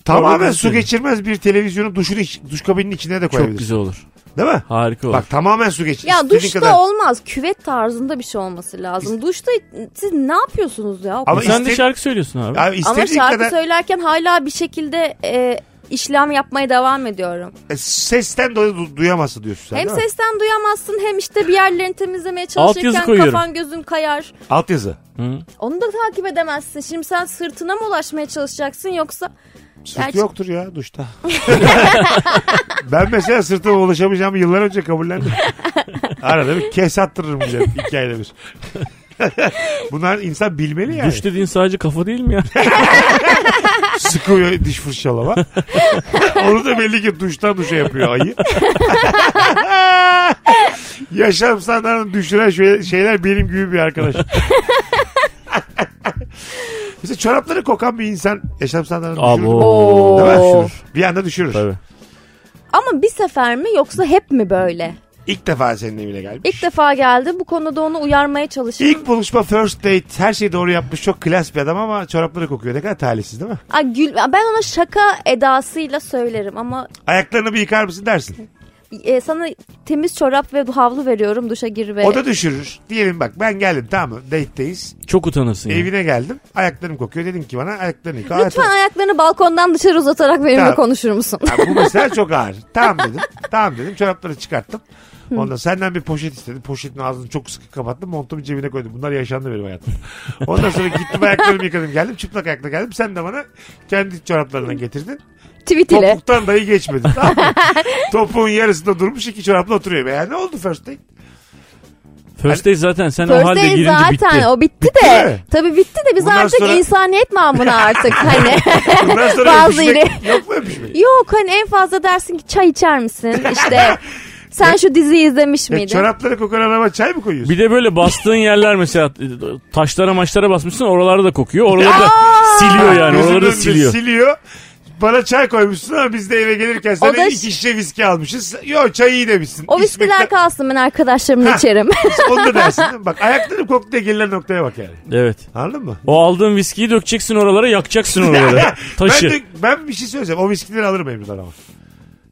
Tamamen Orada su gösterin. geçirmez bir televizyonun duşun iç- duş kabininin içine de Çok koyabilirsin. güzel olur. Değil mi? Harika olur. Bak tamamen su geçir. Ya istediğin duşta kadar. olmaz. Küvet tarzında bir şey olması lazım. Duşta siz ne yapıyorsunuz ya? Ama Sen de iste- şarkı söylüyorsun Abi abi. Ama istediğin şarkı kadar söylerken hala bir şekilde e, işlem yapmaya devam ediyorum. E, sesten dolayı du- duyamazsın diyorsun sen. hem değil mi? sesten duyamazsın hem işte bir yerlerini temizlemeye Altyazı çalışırken koyuyorum. kafan gözün kayar. Altyazı. Hı. Onu da takip edemezsin. Şimdi sen sırtına mı ulaşmaya çalışacaksın yoksa Sırt Gerçi- yoktur ya duşta. ben mesela sırtıma ulaşamayacağımı yıllar önce kabullendim. Arada bir kes attırırım bize iki ayda bir. Bunlar insan bilmeli yani. Duş dediğin sadece kafa değil mi ya? Sıkıyor diş fırçalama. Onu da belli ki duştan duşa yapıyor ayı. Yaşam standartını düşüren şey- şeyler benim gibi bir arkadaş. Mesela çorapları kokan bir insan yaşam standartını düşürür. mü? Abo. Değil mi? Düşürür. Bir anda düşürür. Tabii. ama bir sefer mi yoksa hep mi böyle? İlk defa senin evine gelmiş. İlk defa geldi bu konuda onu uyarmaya çalışıyorum. İlk buluşma first date her şeyi doğru yapmış çok klas bir adam ama çorapları kokuyor. Ne kadar talihsiz değil mi? Ay gül, ben ona şaka edasıyla söylerim ama Ayaklarını bir yıkar mısın dersin. e, sana temiz çorap ve havlu veriyorum duşa gir ve O da düşürür. Diyelim bak ben geldim tamam mı? Date'deyiz. Çok utanırsın. ya. Evine geldim. Ayaklarım kokuyor. Dedim ki bana ayaklarını yıka. Lütfen ayaklarını balkondan dışarı uzatarak benimle Tamam. konuşur musun? Ha, bu mesela çok ağır. Tamam dedim. Tamam dedim. Çorapları çıkarttım. Ondan senden bir poşet istedim. Poşetin ağzını çok sıkı kapattım. Montumu cebine koydum. Bunlar yaşandı benim hayatım. Ondan sonra gittim ayaklarımı yıkadım. Geldim çıplak ayakla geldim. Sen de bana kendi çoraplarından getirdin. Tweet ile. Topuktan dahi geçmedin. Tamam mı? Topuğun yarısında durmuş iki çorapla oturuyor. Yani ne oldu first date? First Day zaten sen o First halde Day girince zaten bitti. o bitti mi? de. Tabii bitti de biz Bundan artık sonra- insaniyet namına artık hani. Bundan sonra Bazı öpüşmek yok mu öpüşmek? Yok hani en fazla dersin ki çay içer misin? İşte sen şu diziyi izlemiş E, miydin? çorapları kokan adama çay mı koyuyorsun? Bir de böyle bastığın yerler mesela taşlara maçlara basmışsın oralarda da kokuyor. Oraları da siliyor yani Gözünün oraları da önünde siliyor. siliyor. Bana çay koymuşsun ama biz de eve gelirken sana da- iki şişe viski almışız. Yo çayı iyi demişsin. O viskiler İçmekten- kalsın ben arkadaşlarımla içerim. Onu da dersin. değil mi? Bak ayaklarım koktu diye gelinen noktaya bak yani. Evet. Anladın mı? O aldığın viskiyi dökeceksin oralara yakacaksın oraları. Taşı. Ben, de, ben bir şey söyleyeceğim. O viskileri alırım evimden ama.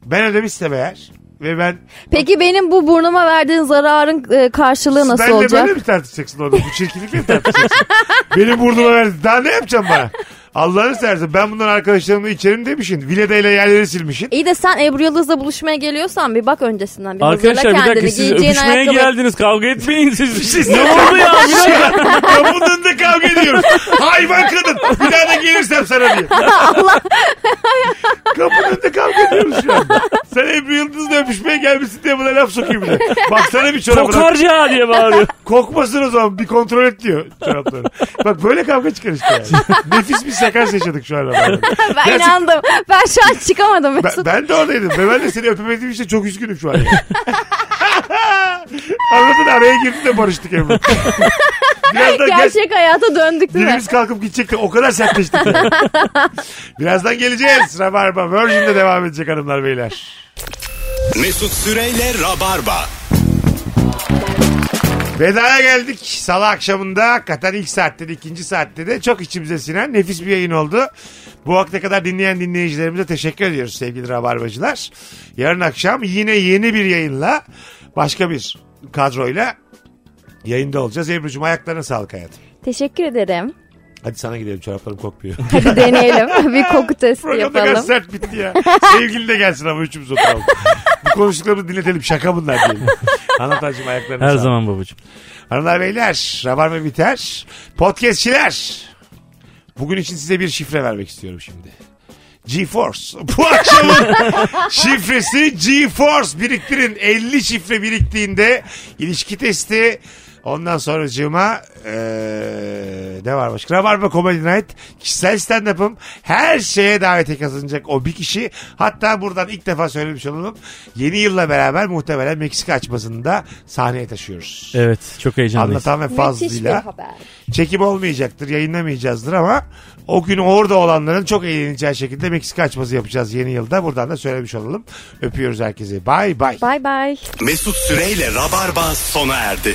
Ben ödemişsem eğer ve ben Peki benim bu burnuma verdiğin zararın e, karşılığı nasıl Benle olacak? böyle mi tartışacaksın orada? Bu çirkinlikle mi tartışacaksın? Benim burnuma verdi. Daha ne yapacağım bana? Allah'ını seversen ben bundan arkadaşlarımla içerim demişsin. Viledeyle yerleri silmişsin. İyi de sen Ebru Yıldız'la buluşmaya geliyorsan bir bak öncesinden. Bir Arkadaşlar hazırla bir dakika kendini, siz giyeceğin öpüşmeye ayakkabı- geldiniz kavga etmeyin siz. ne oldu ya? Bir dakika. ya bundan da kavga ediyoruz. Hayvan kadın. Bir daha da gelirsem sana diye. Allah. Kapının önünde kavga ediyoruz şu anda. Sen Ebru Yıldız'la öpüşmeye gelmişsin diye buna laf sokayım bile. Baksana bir çorabına. Kokarca diye bağırıyor. Kokmasın o zaman bir kontrol et diyor çorapları. Bak böyle kavga çıkar işte yani. Nefis bir sakar yaşadık şu an. ben inandım. Ben şu an çıkamadım Ben, Mesut. ben de oradaydım. Ve ben de seni öpemediğim için çok üzgünüm şu an. yani. Anladın araya girdi de barıştık Ebru. Birazdan gel, Gerçek hayata döndük değil mi? birimiz kalkıp gidecekti. O kadar sertleştik. yani. Birazdan geleceğiz. Rabarba Virgin'de devam edecek hanımlar beyler. Mesut Süreyle Rabarba. Vedaya geldik. Salı akşamında hakikaten ilk saatte de ikinci saatte de çok içimize sinen nefis bir yayın oldu. Bu vakte kadar dinleyen dinleyicilerimize teşekkür ediyoruz sevgili Rabarbacılar. Yarın akşam yine yeni bir yayınla başka bir kadroyla yayında olacağız. Ebru'cum ayaklarına sağlık hayatım. Teşekkür ederim. Hadi sana gidelim çoraplarım kokmuyor. Hadi deneyelim. bir koku testi Program ne kadar yapalım. sert bitti ya. Sevgili de gelsin ama üçümüz oturalım. Bu konuştuklarımızı dinletelim. Şaka bunlar diyelim. Anlatacığım ayaklarını Her sağlık. zaman babacığım. Hanımlar beyler Rabarba biter. Podcastçiler. Bugün için size bir şifre vermek istiyorum şimdi. GeForce. Bu akşamın şifresi GeForce. Biriktirin. 50 şifre biriktiğinde ilişki testi. Ondan sonra cıma ne var başka? Rabarba Comedy Night. Kişisel stand-up'ım. Her şeye davete kazanacak o bir kişi. Hatta buradan ilk defa söylemiş olalım. Yeni yılla beraber muhtemelen Meksika açmasını da sahneye taşıyoruz. Evet çok heyecanlıyız. Anlatan ve Müthiş bir fazlıyla. haber. Çekim olmayacaktır, yayınlamayacağızdır ama o gün orada olanların çok eğleneceği şekilde Meksika açması yapacağız yeni yılda. Buradan da söylemiş olalım. Öpüyoruz herkese. Bay bay. Bay bay. Mesut Süreyle Rabarba sona erdi.